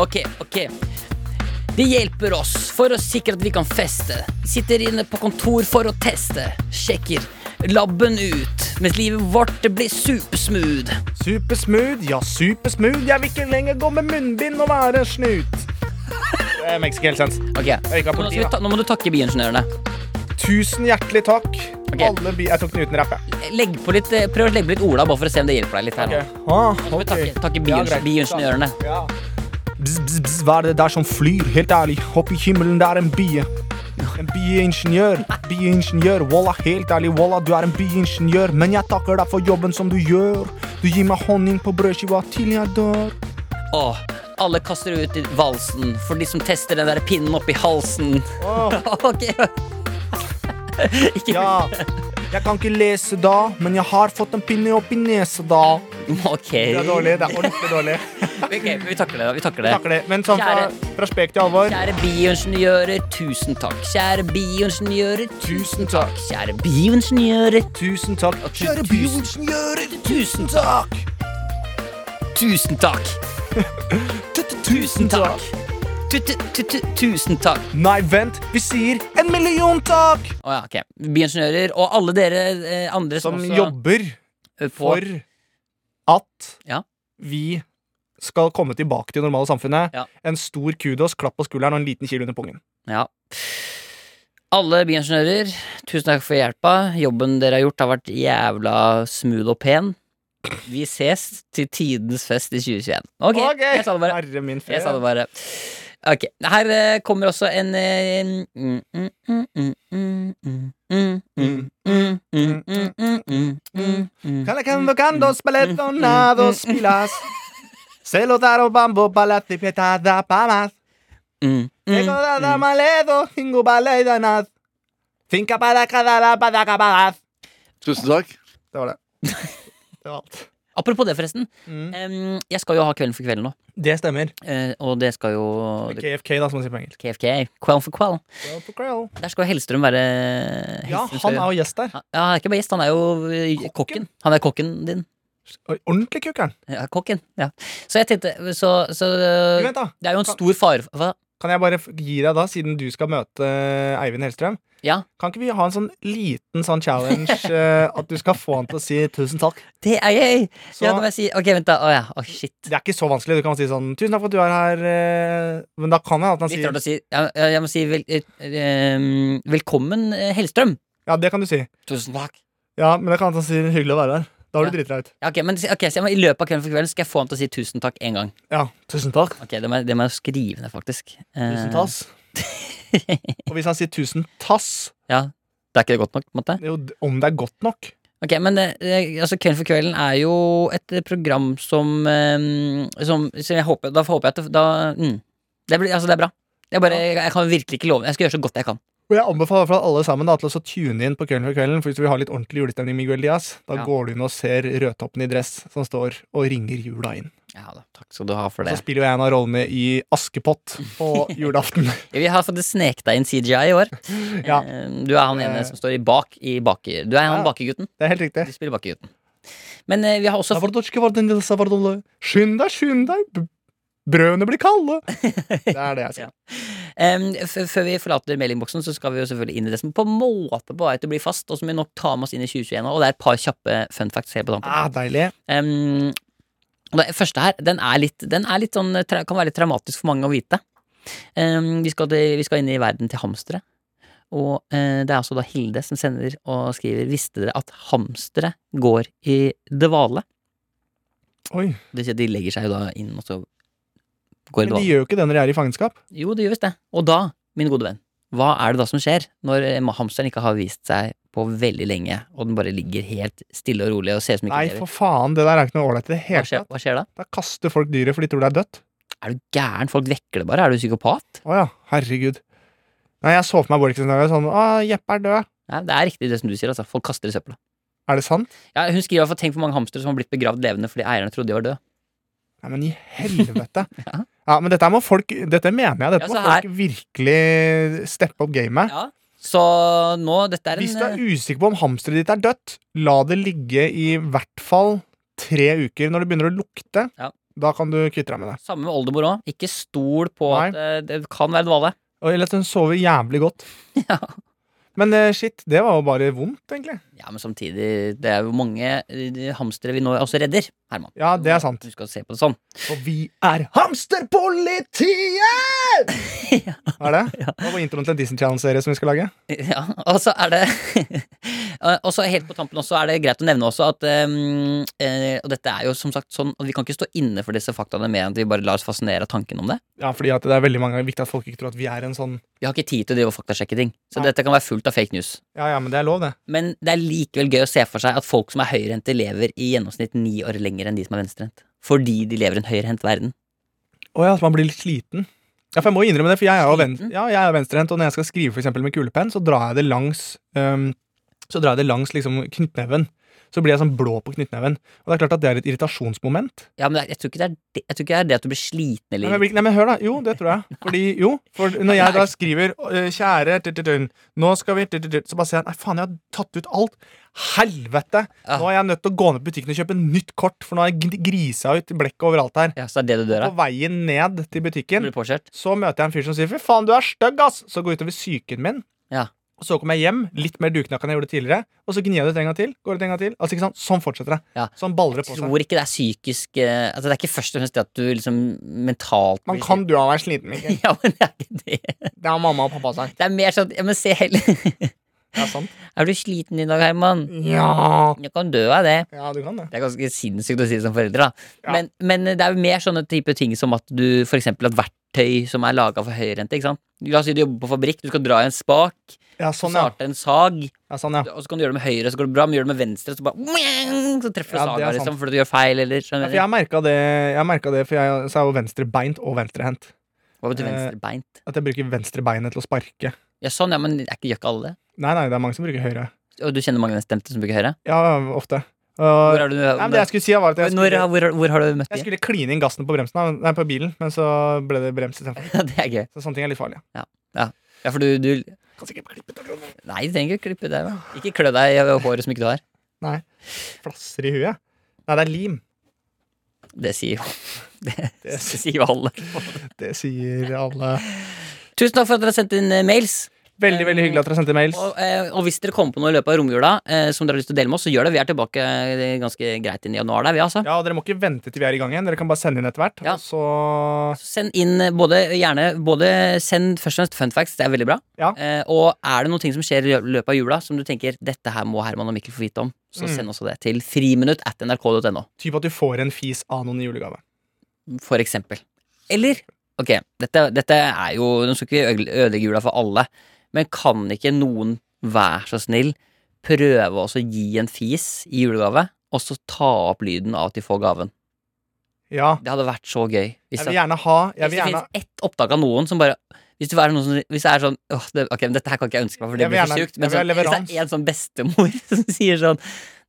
Speaker 3: Ok, ok. Det hjelper oss for å sikre at vi kan feste. Sitter inne på kontor for å teste. Sjekker labben ut, mens livet vårt det blir supersmooth.
Speaker 4: Supersmooth, ja, supersmooth. Jeg vil ikke lenger gå med munnbind og være snut. Det makes ikke helt sens.
Speaker 3: Ok,
Speaker 4: Øyka
Speaker 3: nå,
Speaker 4: politi,
Speaker 3: skal vi ta, nå må du takke biingeniørene.
Speaker 4: Tusen hjertelig takk.
Speaker 3: Ok.
Speaker 4: Alle bi jeg tok den uten rapp, jeg.
Speaker 3: Legg på litt, eh, prøv å legge på litt Ola, bare for å se om det hjelper deg litt her. nå.
Speaker 4: Ah,
Speaker 3: Nå skal vi
Speaker 4: ok.
Speaker 3: takke, takke
Speaker 4: Ja,
Speaker 3: biings-
Speaker 4: greit.
Speaker 3: biingeniørene.
Speaker 4: Ja. Bzz, bzz, bzz, hva er det der som flyr? Helt ærlig, opp i himmelen, det er en bie. En bieingeniør. Bieingeniør. Walla, helt ærlig, Walla, du er en bieingeniør. Men jeg takker deg for jobben som du gjør. Du gir meg honning på brødskiva til jeg dør.
Speaker 3: Åh, alle kaster ut i valsen for de som tester den der pinnen oppi halsen.
Speaker 4: Åh.
Speaker 3: (laughs) ok. ikke
Speaker 4: Ja. Jeg kan ikke lese da, men jeg har fått en pinne opp i nesa da.
Speaker 3: Ok.
Speaker 4: Det er dårlig. det er ordentlig dårlig.
Speaker 3: Ok, vi takler det. Vi takler det.
Speaker 4: Takk det. Men sånn fra, fra spek til alvor
Speaker 3: Kjære bioingeniører, tusen takk. Kjære bioingeniører, tusen takk. Kjære bioingeniører,
Speaker 4: Tusen takk. Kjære
Speaker 3: tusen-
Speaker 4: bioingeniører,
Speaker 3: tusen takk.
Speaker 4: takk!
Speaker 3: Tusen takk. Tusen takk. Tu-tu-tu-tu- Tusen takk.
Speaker 4: Nei, vent. Vi sier en million takk!
Speaker 3: Å ja, ok. Bioingeniører og alle dere eh, andre som,
Speaker 4: Som
Speaker 3: også
Speaker 4: jobber
Speaker 3: eh,
Speaker 4: for
Speaker 3: får-
Speaker 4: at
Speaker 3: Ja.
Speaker 4: vi skal komme tilbake til det normale samfunnet.
Speaker 3: Ja.
Speaker 4: En stor kudos, klapp på skulderen og en liten kil under pungen.
Speaker 3: Ja. Alle bioingeniører, tusen takk for hjelpa. Jobben dere har gjort, har vært jævla smooth og pen. Vi ses til tidens fest i 2021. Ok,
Speaker 4: Ok,
Speaker 3: jeg sa det bare.
Speaker 4: Herre min
Speaker 3: Jeg sa det
Speaker 4: fred.
Speaker 3: bare. Ok, Her eh, kommer også en eh, mm, mm, mm, mm, mm, mm, mm, mm, mm, mm, mm, mm, mm, mm, mm.
Speaker 4: Calacando, cando, spaletto, nado, spilas. Se lo daro bambo, balatti, pietada, pamas.
Speaker 3: Mm, mm,
Speaker 4: Tengo dada maledo, tingo baleida nad. Finka badakadala, badakabadaz.
Speaker 5: Tusen takk.
Speaker 4: Det var det. Det var alt.
Speaker 3: Apropos det, forresten.
Speaker 4: Mm.
Speaker 3: em, Jeg skal jo ha Kvelden for kvelden nå.
Speaker 4: Det stemmer.
Speaker 3: eh, Og det skal jo
Speaker 4: KFK, da, som man sier på engelsk.
Speaker 3: KFK. Kvelden for kveld. Der skal jo Hellstrøm være
Speaker 4: Ja,
Speaker 3: Hellstrøm skal
Speaker 4: han
Speaker 3: jo-
Speaker 4: er jo gjest der.
Speaker 3: Ja, han er ikke bare gjest, han er jo eh, kokken. Han er kokken din.
Speaker 4: Oi, Ordentlig kukkeren.
Speaker 3: Ja, kokken, ja. Så jeg tenkte Så, så eh,
Speaker 4: Vent, da.
Speaker 3: det er jo en
Speaker 4: kan-
Speaker 3: stor fare for hva?
Speaker 4: Kan jeg bare f- gi deg, da, siden du skal møte eh, Eivind Hellstrøm
Speaker 3: Ja.
Speaker 4: Kan ikke vi ha en sånn liten
Speaker 3: (laughs)
Speaker 4: sånn challenge eh, at du skal få han til å si 'tusen takk'?
Speaker 3: Det er jeg!
Speaker 4: Så
Speaker 3: Ja, da må jeg si Ok, vent, da. Å ja. Å, shit.
Speaker 4: Det er ikke så vanskelig. Du kan si sånn 'tusen takk for at du er her', eh, men da kan jeg at han
Speaker 3: Litt rart å si.
Speaker 4: sier
Speaker 3: Jeg, jeg må si vel, eh, eh, velkommen, eh, Hellstrøm.
Speaker 4: Ja, det kan du si.
Speaker 3: Tusen takk.
Speaker 4: Ja, men det kan at han sier 'hyggelig å være her'. Da har du
Speaker 3: Ja.
Speaker 4: driti deg ut.
Speaker 3: Ja, ok, men ok, så jeg må, I løpet av Kvelden for kvelden skal jeg få han til å si tusen takk én gang.
Speaker 4: Ja, tusen takk.
Speaker 3: Ok, Det må jeg, det må jeg skrive ned, faktisk. Eh,
Speaker 4: Tusen tass. Og hvis han sier 'tusen tass',
Speaker 3: Ja, Det er ikke godt nok? på en måte
Speaker 4: det er jo d- om det er godt nok.
Speaker 3: Ok, men eh, eh, altså Kvelden for kvelden er jo et eh, program som, eh, som, som jeg håper, Da håper jeg at det, da, mm, det, blir, altså, det er bra. Jeg, bare, jeg, jeg kan virkelig ikke love Jeg skal gjøre så godt jeg kan.
Speaker 4: Og jeg anbefaler for alle sammen da, til å så tune inn på Kvelden for kvelden. For hvis du vil ha litt ordentlig julestemning, Miguel Diaz, da
Speaker 3: Ja.
Speaker 4: går du inn og ser Rødtoppen i dress som står og ringer jula inn.
Speaker 3: Ja da, Takk skal du ha for
Speaker 4: Så
Speaker 3: det.
Speaker 4: spiller jo jeg en av rollene i Askepott på
Speaker 3: (laughs)
Speaker 4: julaften.
Speaker 3: Vi har fått sneket deg inn CGI i år.
Speaker 4: (laughs) Ja.
Speaker 3: Eh, Du er han ene
Speaker 4: Eh.
Speaker 3: som står i bak i baker. Du er han
Speaker 4: Ja.
Speaker 3: bakegutten.
Speaker 4: Det er helt riktig.
Speaker 3: Du spiller bakegutten. Men eh, vi har også fått
Speaker 4: Savardotsjke var den
Speaker 3: (laughs)
Speaker 4: lille savardolle. Skynd deg, skynd deg! b- Brødene blir kalde! Det er det jeg sier.
Speaker 3: Em, eh, f- før vi forlater mailinnboksen, så skal vi jo selvfølgelig inn i det som på en måte på vei til å bli fast, og som vi nok tar med oss inn i 2021 også, Og det er et par kjappe fun facts helt på tampen.
Speaker 4: Ah, deilig.
Speaker 3: Em, og det første her, den er litt, den er litt sånn, tra- kan være litt traumatisk for mange å vite. Em, vi, skal til, vi skal inn i verden til hamstere. Og eh, det er altså da Hilde som sender og skriver Visste dere at hamstere går i dvale?
Speaker 4: Oi.
Speaker 3: Det vil si at de legger seg jo da inn og så går i
Speaker 4: Men de
Speaker 3: dvale.
Speaker 4: gjør jo ikke det når de er i fangenskap.
Speaker 3: Jo, det gjør visst det. Og da, min gode venn, hva er det da som skjer når eh, hamsteren ikke har vist seg på veldig lenge, og den bare ligger helt stille og rolig og ser ut som ikke
Speaker 4: Nei,
Speaker 3: lever?
Speaker 4: for faen, det der er ikke noe ålreit i det
Speaker 3: Hva
Speaker 4: hele
Speaker 3: skjer,
Speaker 4: tatt.
Speaker 3: hva skjer da?
Speaker 4: Da kaster folk dyret, for de tror det er dødt.
Speaker 3: Er du gæren? Folk vekker det bare. Er du psykopat?
Speaker 4: Å ja, herregud. Nei, jeg så for meg Borchsen-scenarioet sånn Å, Jeppe er død.
Speaker 3: Nei, det er riktig det som du sier. altså. Folk kaster i søpla.
Speaker 4: Er det sant?
Speaker 3: Ja, hun skriver i hvert fall tenk hvor mange hamstere som har blitt begravd levende fordi eierne trodde de var døde.
Speaker 4: Nei, men i helvete.
Speaker 3: (laughs) Ja.
Speaker 4: ja, men dette må folk Dette mener jeg. Dette
Speaker 3: Ja, så
Speaker 4: må folk virkelig steppe opp gamet.
Speaker 3: Ja. Så nå, dette er
Speaker 4: Hvis
Speaker 3: en eh,
Speaker 4: du er usikker på om hamsteret ditt er dødt, la det ligge i hvert fall tre uker. Når det begynner å lukte,
Speaker 3: Ja.
Speaker 4: da kan du kvitte deg med det.
Speaker 3: eh, Samme med oldemor òg. Ikke stol på
Speaker 4: Nei.
Speaker 3: at eh, det kan være dvale.
Speaker 4: Og Eller at hun sover jævlig godt.
Speaker 3: (laughs) Ja.
Speaker 4: Men eh, shit, det var jo bare vondt, egentlig.
Speaker 3: ja, men samtidig, det er jo mange eh, hamstere vi nå også redder, Herman.
Speaker 4: Ja, det er sant.
Speaker 3: Du skal se på det sånn. (laughs)
Speaker 4: Og vi er hamsterpolitiet!
Speaker 3: Ja.
Speaker 4: Er det? Det var introen til en Disney Channel-serie som vi skal lage.
Speaker 3: Ja, og så er det (laughs) Og så helt på tampen også er det greit å nevne også at ehm, eh, Og dette er jo som sagt sånn at vi kan ikke stå inne for disse faktaene mer enn at vi bare lar oss fascinere av tanken om det.
Speaker 4: Ja, fordi at det er veldig mange det er viktig at folk ikke tror at vi er en sånn
Speaker 3: Vi har ikke tid til å drive og faktasjekke ting, så
Speaker 4: Nei.
Speaker 3: dette kan være fullt av fake news.
Speaker 4: Ja, ja, men det er lov, det.
Speaker 3: Men det er likevel gøy å se for seg at folk som er høyrehendte, lever i gjennomsnitt ni år lenger enn de som er venstrehendt. Fordi de lever i en høyrehendt verden.
Speaker 4: Å ja, så man blir litt sliten. Ja, for jeg må innrømme det, for jeg er jo ven
Speaker 3: Sliten?
Speaker 4: ja, jeg er jo venstrehendt, og når jeg skal skrive for eksempel med kulepenn, så drar jeg det langs øhm, Så drar jeg det langs liksom knyttneven. Så blir jeg sånn blå på knyttneven. Og det er klart at det er et irritasjonsmoment.
Speaker 3: Ja, men jeg tror ikke det er det, jeg tror ikke det, er det at du blir sliten
Speaker 4: Nei, men, jeg
Speaker 3: eller
Speaker 4: blir ikke- nei, men hør, da. Jo, det tror jeg. Fordi, jo, for når jeg da skriver øh, 'Kjære tut-tut-tun, nå skal vi tut-tut-tut», Så bare ser jeg Nei, faen, jeg har tatt ut alt. Helvete!
Speaker 3: Ja.
Speaker 4: Nå er jeg nødt til å gå ned på butikken og kjøpe nytt kort, for nå har jeg gn- grisa ut blekket overalt her.
Speaker 3: Ja, Mm. så det er det du dør av.
Speaker 4: På veien ned til butikken
Speaker 3: Blir påkjørt.
Speaker 4: Så møter jeg en fyr som sier 'fy faen, du er stygg', ass! Så går jeg utover psyken min.
Speaker 3: Ja.
Speaker 4: Og Så kommer jeg hjem, litt mer duknakk enn jeg gjorde tidligere. Og så gnir jeg det ut en gang til. Går ut en gang til. Altså, ikke sant? Sånn fortsetter det.
Speaker 3: Ja.
Speaker 4: Sånn baller det på seg.
Speaker 3: Tror ikke det er psykisk eh, Altså, det er ikke først og fremst det at du liksom mentalt
Speaker 4: Man
Speaker 3: blir
Speaker 4: kan dø av å være sliten.
Speaker 3: (laughs)
Speaker 4: Mikkel.
Speaker 3: Ja, men det er ikke det.
Speaker 4: Det har mamma og pappa sagt.
Speaker 3: Det er mer sånn Ja, men se heller (laughs)
Speaker 4: Det er sånn. sant.
Speaker 3: Er du sliten i dag, Herman?
Speaker 4: Ja.
Speaker 3: Du kan dø av det.
Speaker 4: ja, du kan det.
Speaker 3: Det er ganske sinnssykt å si som foreldre, da.
Speaker 4: Ja.
Speaker 3: Men, men det er jo mer sånne type ting som at du for eksempel at verktøy som er laga for høyrente, ikke sant. La oss si du jobber på fabrikk, du skal dra i en spak,
Speaker 4: Ja,
Speaker 3: så
Speaker 4: sånn, ja.
Speaker 3: starte en sag,
Speaker 4: ja, sånn, ja.
Speaker 3: og så kan du gjøre det med høyre, så går det bra, men gjør det med venstre, så bare Så treffer du
Speaker 4: Ja, det er
Speaker 3: saga,
Speaker 4: sant.
Speaker 3: liksom, fordi du gjør feil, eller
Speaker 4: ja
Speaker 3: skjønner
Speaker 4: for jeg
Speaker 3: du?
Speaker 4: har merka det, jeg har merket det, for jeg så er jo venstrebeint og venstrehendt.
Speaker 3: Hva betyr
Speaker 4: eh,
Speaker 3: venstrebeint?
Speaker 4: At jeg bruker venstrebeinet til å sparke.
Speaker 3: Ja, sånn, ja, men er ikke gjør ikke alle det?
Speaker 4: Nei, nei, det er mange som bruker høyre.
Speaker 3: Og du kjenner mange venstrehendte som bruker høyre?
Speaker 4: Ja, ofte. Og,
Speaker 3: Hvor er du
Speaker 4: nei, men det jeg skulle si, var at jeg
Speaker 3: Når,
Speaker 4: skulle,
Speaker 3: hvor, hvor har du møtt
Speaker 4: jeg
Speaker 3: dem?
Speaker 4: skulle kline inn gassen på, bremsen, da. nei, på bilen, men så ble det brems istedenfor.
Speaker 3: (laughs) Ja, det er gøy.
Speaker 4: Så sånne ting er litt farlige.
Speaker 3: Ja, for du, du
Speaker 4: Kan sikkert klippe tak i noen
Speaker 3: Nei, du trenger ikke klippe deg. da. Ikke klø deg i håret som ikke du har.
Speaker 4: flasser i huet. Nei, det er lim.
Speaker 3: Det sier jo (laughs) Det,
Speaker 4: Det
Speaker 3: det sier jo alle.
Speaker 4: Det sier alle.
Speaker 3: Tusen takk for at dere har sendt inn eh, mails.
Speaker 4: Veldig veldig hyggelig at dere sendte mails.
Speaker 3: Og, eh, og hvis dere kommer på noe i løpet av romjula eh, som dere har lyst til å dele med oss, så gjør det. Vi er tilbake eh, ganske greit inn i januar der, vi, altså.
Speaker 4: Ja, og Dere må ikke vente til vi er i gang igjen. Dere kan bare sende inn etter hvert.
Speaker 3: Ja.
Speaker 4: Og så
Speaker 3: Så Send inn eh, både gjerne både Send først og fremst fun facts, det er veldig bra.
Speaker 4: Ja.
Speaker 3: Eh, og er det noen ting som skjer i lø- løpet av jula som du tenker dette her må Herman og Mikkel få vite om, så
Speaker 4: Mm.
Speaker 3: send også det til friminutt at nrk.no.
Speaker 4: typ at du får en fis av noen i julegave.
Speaker 3: For eksempel. Eller Ok, dette, dette er jo Nå skal ikke vi øgle- ødelegge jula for alle, men kan ikke noen, vær så snill, prøve også å gi en fis i julegave, og så ta opp lyden av at de får gaven?
Speaker 4: Ja.
Speaker 3: Det hadde vært så gøy. Hvis,
Speaker 4: Jeg
Speaker 3: det-
Speaker 4: vil gjerne ha Jeg
Speaker 3: hvis
Speaker 4: vil
Speaker 3: det
Speaker 4: gjerne,
Speaker 3: finnes ett opptak av noen som bare hvis det, er noen som, hvis det er sånn åh, det, Ok, men dette her kan ikke jeg ønske meg, for det
Speaker 4: Jeg vil
Speaker 3: blir for
Speaker 4: gjerne-
Speaker 3: sjukt. Men
Speaker 4: jeg
Speaker 3: sånn,
Speaker 4: vil ha
Speaker 3: hvis det er en sånn bestemor (laughs) som sier sånn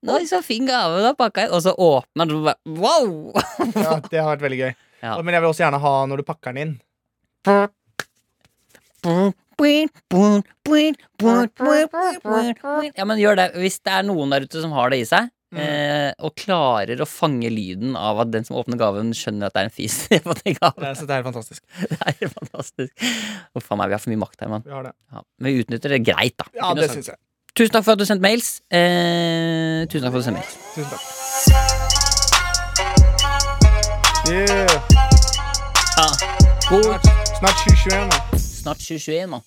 Speaker 3: Nå, så fin gave du har pakka inn, og så åpner den, og så bare wow!
Speaker 4: ja, det har vært veldig gøy.
Speaker 3: Ja.
Speaker 4: Og- Men jeg vil også gjerne ha når du pakker den inn.
Speaker 3: Ja, men gjør det. Hvis det er noen der ute som har det i seg,
Speaker 4: Mm.
Speaker 3: eh, og klarer å fange lyden av at den som åpner gaven, skjønner at det er en fis. (laughs) Jeg får tenke av.
Speaker 4: Jeg synes det er helt fantastisk.
Speaker 3: Det er jo fantastisk. Å, faen meg, vi har for mye makt her, mann.
Speaker 4: Vi har det.
Speaker 3: Ja, men vi utnytter det greit, da.
Speaker 4: Ja,
Speaker 3: Ikke noe
Speaker 4: det
Speaker 3: sånn.
Speaker 4: syns jeg.
Speaker 3: Tusen takk for at du sendte mails. Eh, tusen takk for at du sendte mails.
Speaker 4: Tusen takk. Yeah.
Speaker 3: Ja. God.
Speaker 4: Snart- Snart 2021. da.
Speaker 3: Snart 2021, mann.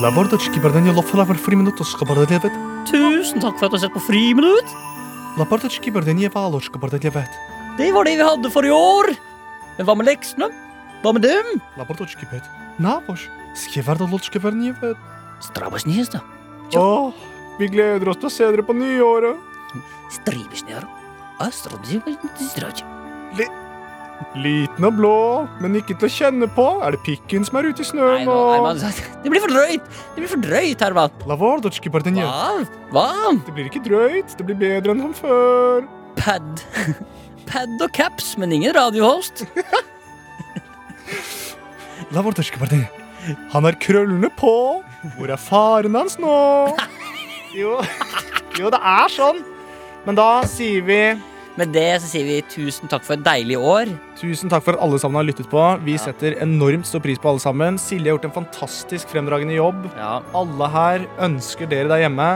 Speaker 4: Dla wordeczki badanie lofela w friminutu skobardeliewet.
Speaker 3: Tusen takk for at du har sett på Friminutt.
Speaker 4: Dla parteczki badanie waloczka bardeliewet.
Speaker 3: Det var det vi hadde for i år. Men hva med leksene? Hva med dem?
Speaker 4: Dla parteczki bet. Nawoś. Skiewardoczkę barniewet.
Speaker 3: Strabasnes, da.
Speaker 4: Åh, vi gleder oss til å se dere på nyåret.
Speaker 3: Stribesnjer. Astrodivstraja.
Speaker 4: Liten og blå, men ikke til å kjenne på. Er det pikken som er ute i
Speaker 3: Nei, nå,
Speaker 4: snøen nå?
Speaker 3: Herman, (laughs) det blir for drøyt! Det blir for drøyt, Herman.
Speaker 4: Lavardotski bardenie.
Speaker 3: Hva? Hva?
Speaker 4: Det blir ikke drøyt, det blir bedre enn som før.
Speaker 3: (laughs) Pad. Pad og caps, men ingen radiohost.
Speaker 4: Lavardotski bardenie. Han har krøllene på. Hvor er faren hans nå? (laughs) Jo, jo, det er sånn. Men da sier vi
Speaker 3: Med det så sier vi tusen takk for et deilig år.
Speaker 4: Tusen takk for at alle sammen har lyttet på. Vi setter enormt stor pris på alle sammen. Silje har gjort en fantastisk fremdragende jobb.
Speaker 3: Ja.
Speaker 4: Alle her ønsker dere der hjemme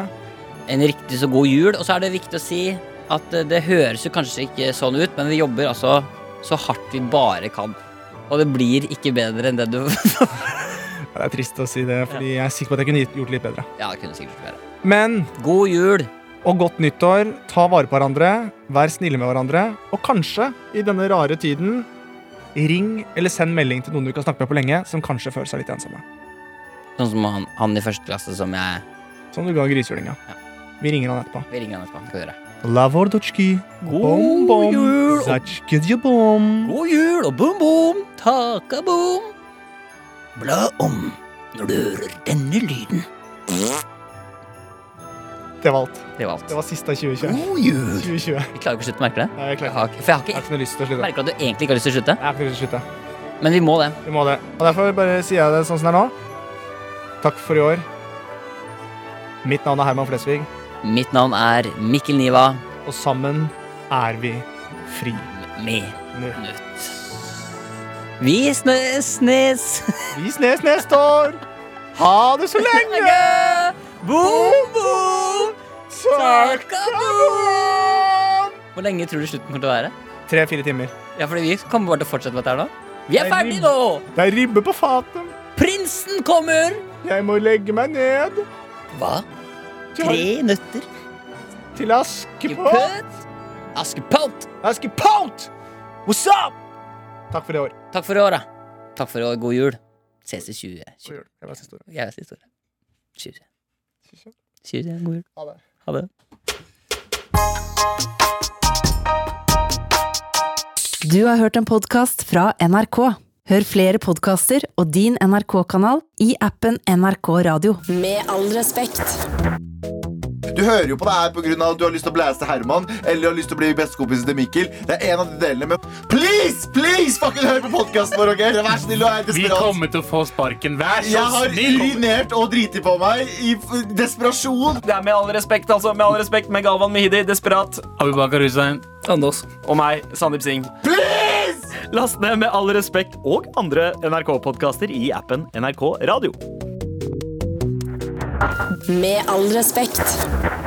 Speaker 3: En riktig så god jul. Og så er det viktig å si at eh, det høres jo kanskje ikke sånn ut, men vi jobber altså så hardt vi bare kan. Og det blir ikke bedre enn det du (laughs)
Speaker 4: Ja, Det er trist å si det, fordi jeg er sikker på at jeg kunne gjort det litt bedre.
Speaker 3: Ja, det kunne sikkert vært bedre.
Speaker 4: Men,
Speaker 3: God jul.
Speaker 4: og godt nyttår, ta vare på hverandre, vær snille med hverandre, og kanskje, i denne rare tiden, ring eller send melding til noen du ikke har snakket med på lenge, som kanskje føler seg litt ensomme.
Speaker 3: Sånn som han, han i første klasse som jeg
Speaker 4: Som du ga grishjulinga.
Speaker 3: Ja.
Speaker 4: Vi ringer han etterpå.
Speaker 3: Vi ringer han etterpå. Skal vi gjøre.
Speaker 4: Lavordotsjki,
Speaker 3: God jul, og-
Speaker 4: zatsjkedjebom.
Speaker 3: God jul og boom boom, taka boom. Bla om når du hører denne lyden.
Speaker 4: Det var alt.
Speaker 3: Det var alt.
Speaker 4: Det var siste av 2020.
Speaker 3: God jul.
Speaker 4: 2020. Nei,
Speaker 3: Vi klarer ikke å slutte å merke det.
Speaker 4: jeg
Speaker 3: Jeg
Speaker 4: klarer ikke.
Speaker 3: har, ikke- for jeg har
Speaker 4: Jeg har
Speaker 3: ikke
Speaker 4: ikke noe lyst til å
Speaker 3: jeg
Speaker 4: slutte.
Speaker 3: merker at du egentlig ikke har lyst til å slutte,
Speaker 4: Jeg har ikke lyst til å slutte.
Speaker 3: men vi må det.
Speaker 4: Vi må det. Og derfor bare sier jeg det sånn som det er nå. Takk for i år. Mitt navn er Herman Flesvig,
Speaker 3: Mitt navn er Mikkel Niva.
Speaker 4: og sammen er vi fri. Nå.
Speaker 3: Minutt. Vi snø- snes
Speaker 4: Vi snes neste år! Ha det så
Speaker 3: (laughs)
Speaker 4: lenge!
Speaker 3: Boom boom,
Speaker 4: Takk!
Speaker 3: taka boom. Hvor lenge tror du slutten kommer til å være?
Speaker 4: Tre-fire timer.
Speaker 3: Ja, fordi vi kommer bare til å fortsette med dette her nå. Vi er
Speaker 4: Nei, vi-
Speaker 3: ferdige nå!
Speaker 4: Det er ribbe på fatet.
Speaker 3: Prinsen kommer!
Speaker 4: Jeg må legge meg ned
Speaker 3: Hva?
Speaker 4: til,
Speaker 3: Tre nøtter?
Speaker 4: til Askepott.
Speaker 3: Gepøt? Askepott!
Speaker 4: Askepott!
Speaker 3: What's up?
Speaker 4: Takk for i år.
Speaker 3: Takk for i år, da. Takk for i år. God jul. Ses i 20.
Speaker 4: God jul. Det var siste ordet.
Speaker 3: Jeg er siste ordet. 20.
Speaker 4: Siste ordet.
Speaker 3: 20. God jul.
Speaker 4: Ha det.
Speaker 3: Ha det.
Speaker 1: Du har hørt en podkast fra NRK. Hør flere podkaster og din NRK-kanal i appen NRK Radio. Med all respekt.
Speaker 5: Du hører jo på det her pga. at du har lyst til å blæste Herman eller har lyst til å bli bestekompisen til Mikkel. Det er en av de delene, men please, please, fucking hør på podkasten vår, OK? Vær snill og er
Speaker 6: Vi
Speaker 5: desperat.
Speaker 6: kommer til å få sparken. Vær så
Speaker 5: Jeg har
Speaker 6: snill!
Speaker 5: urinert og driti på meg i f- desperasjon.
Speaker 7: Det er med all respekt, altså. Med all respekt med Galvan Mehidi, Desperat
Speaker 6: Abubakar Hussein.
Speaker 7: og meg, Sandeep Singh.
Speaker 5: Please!
Speaker 7: Last ned Med all respekt og andre NRK-podkaster i appen NRK Radio.
Speaker 1: Med all respekt.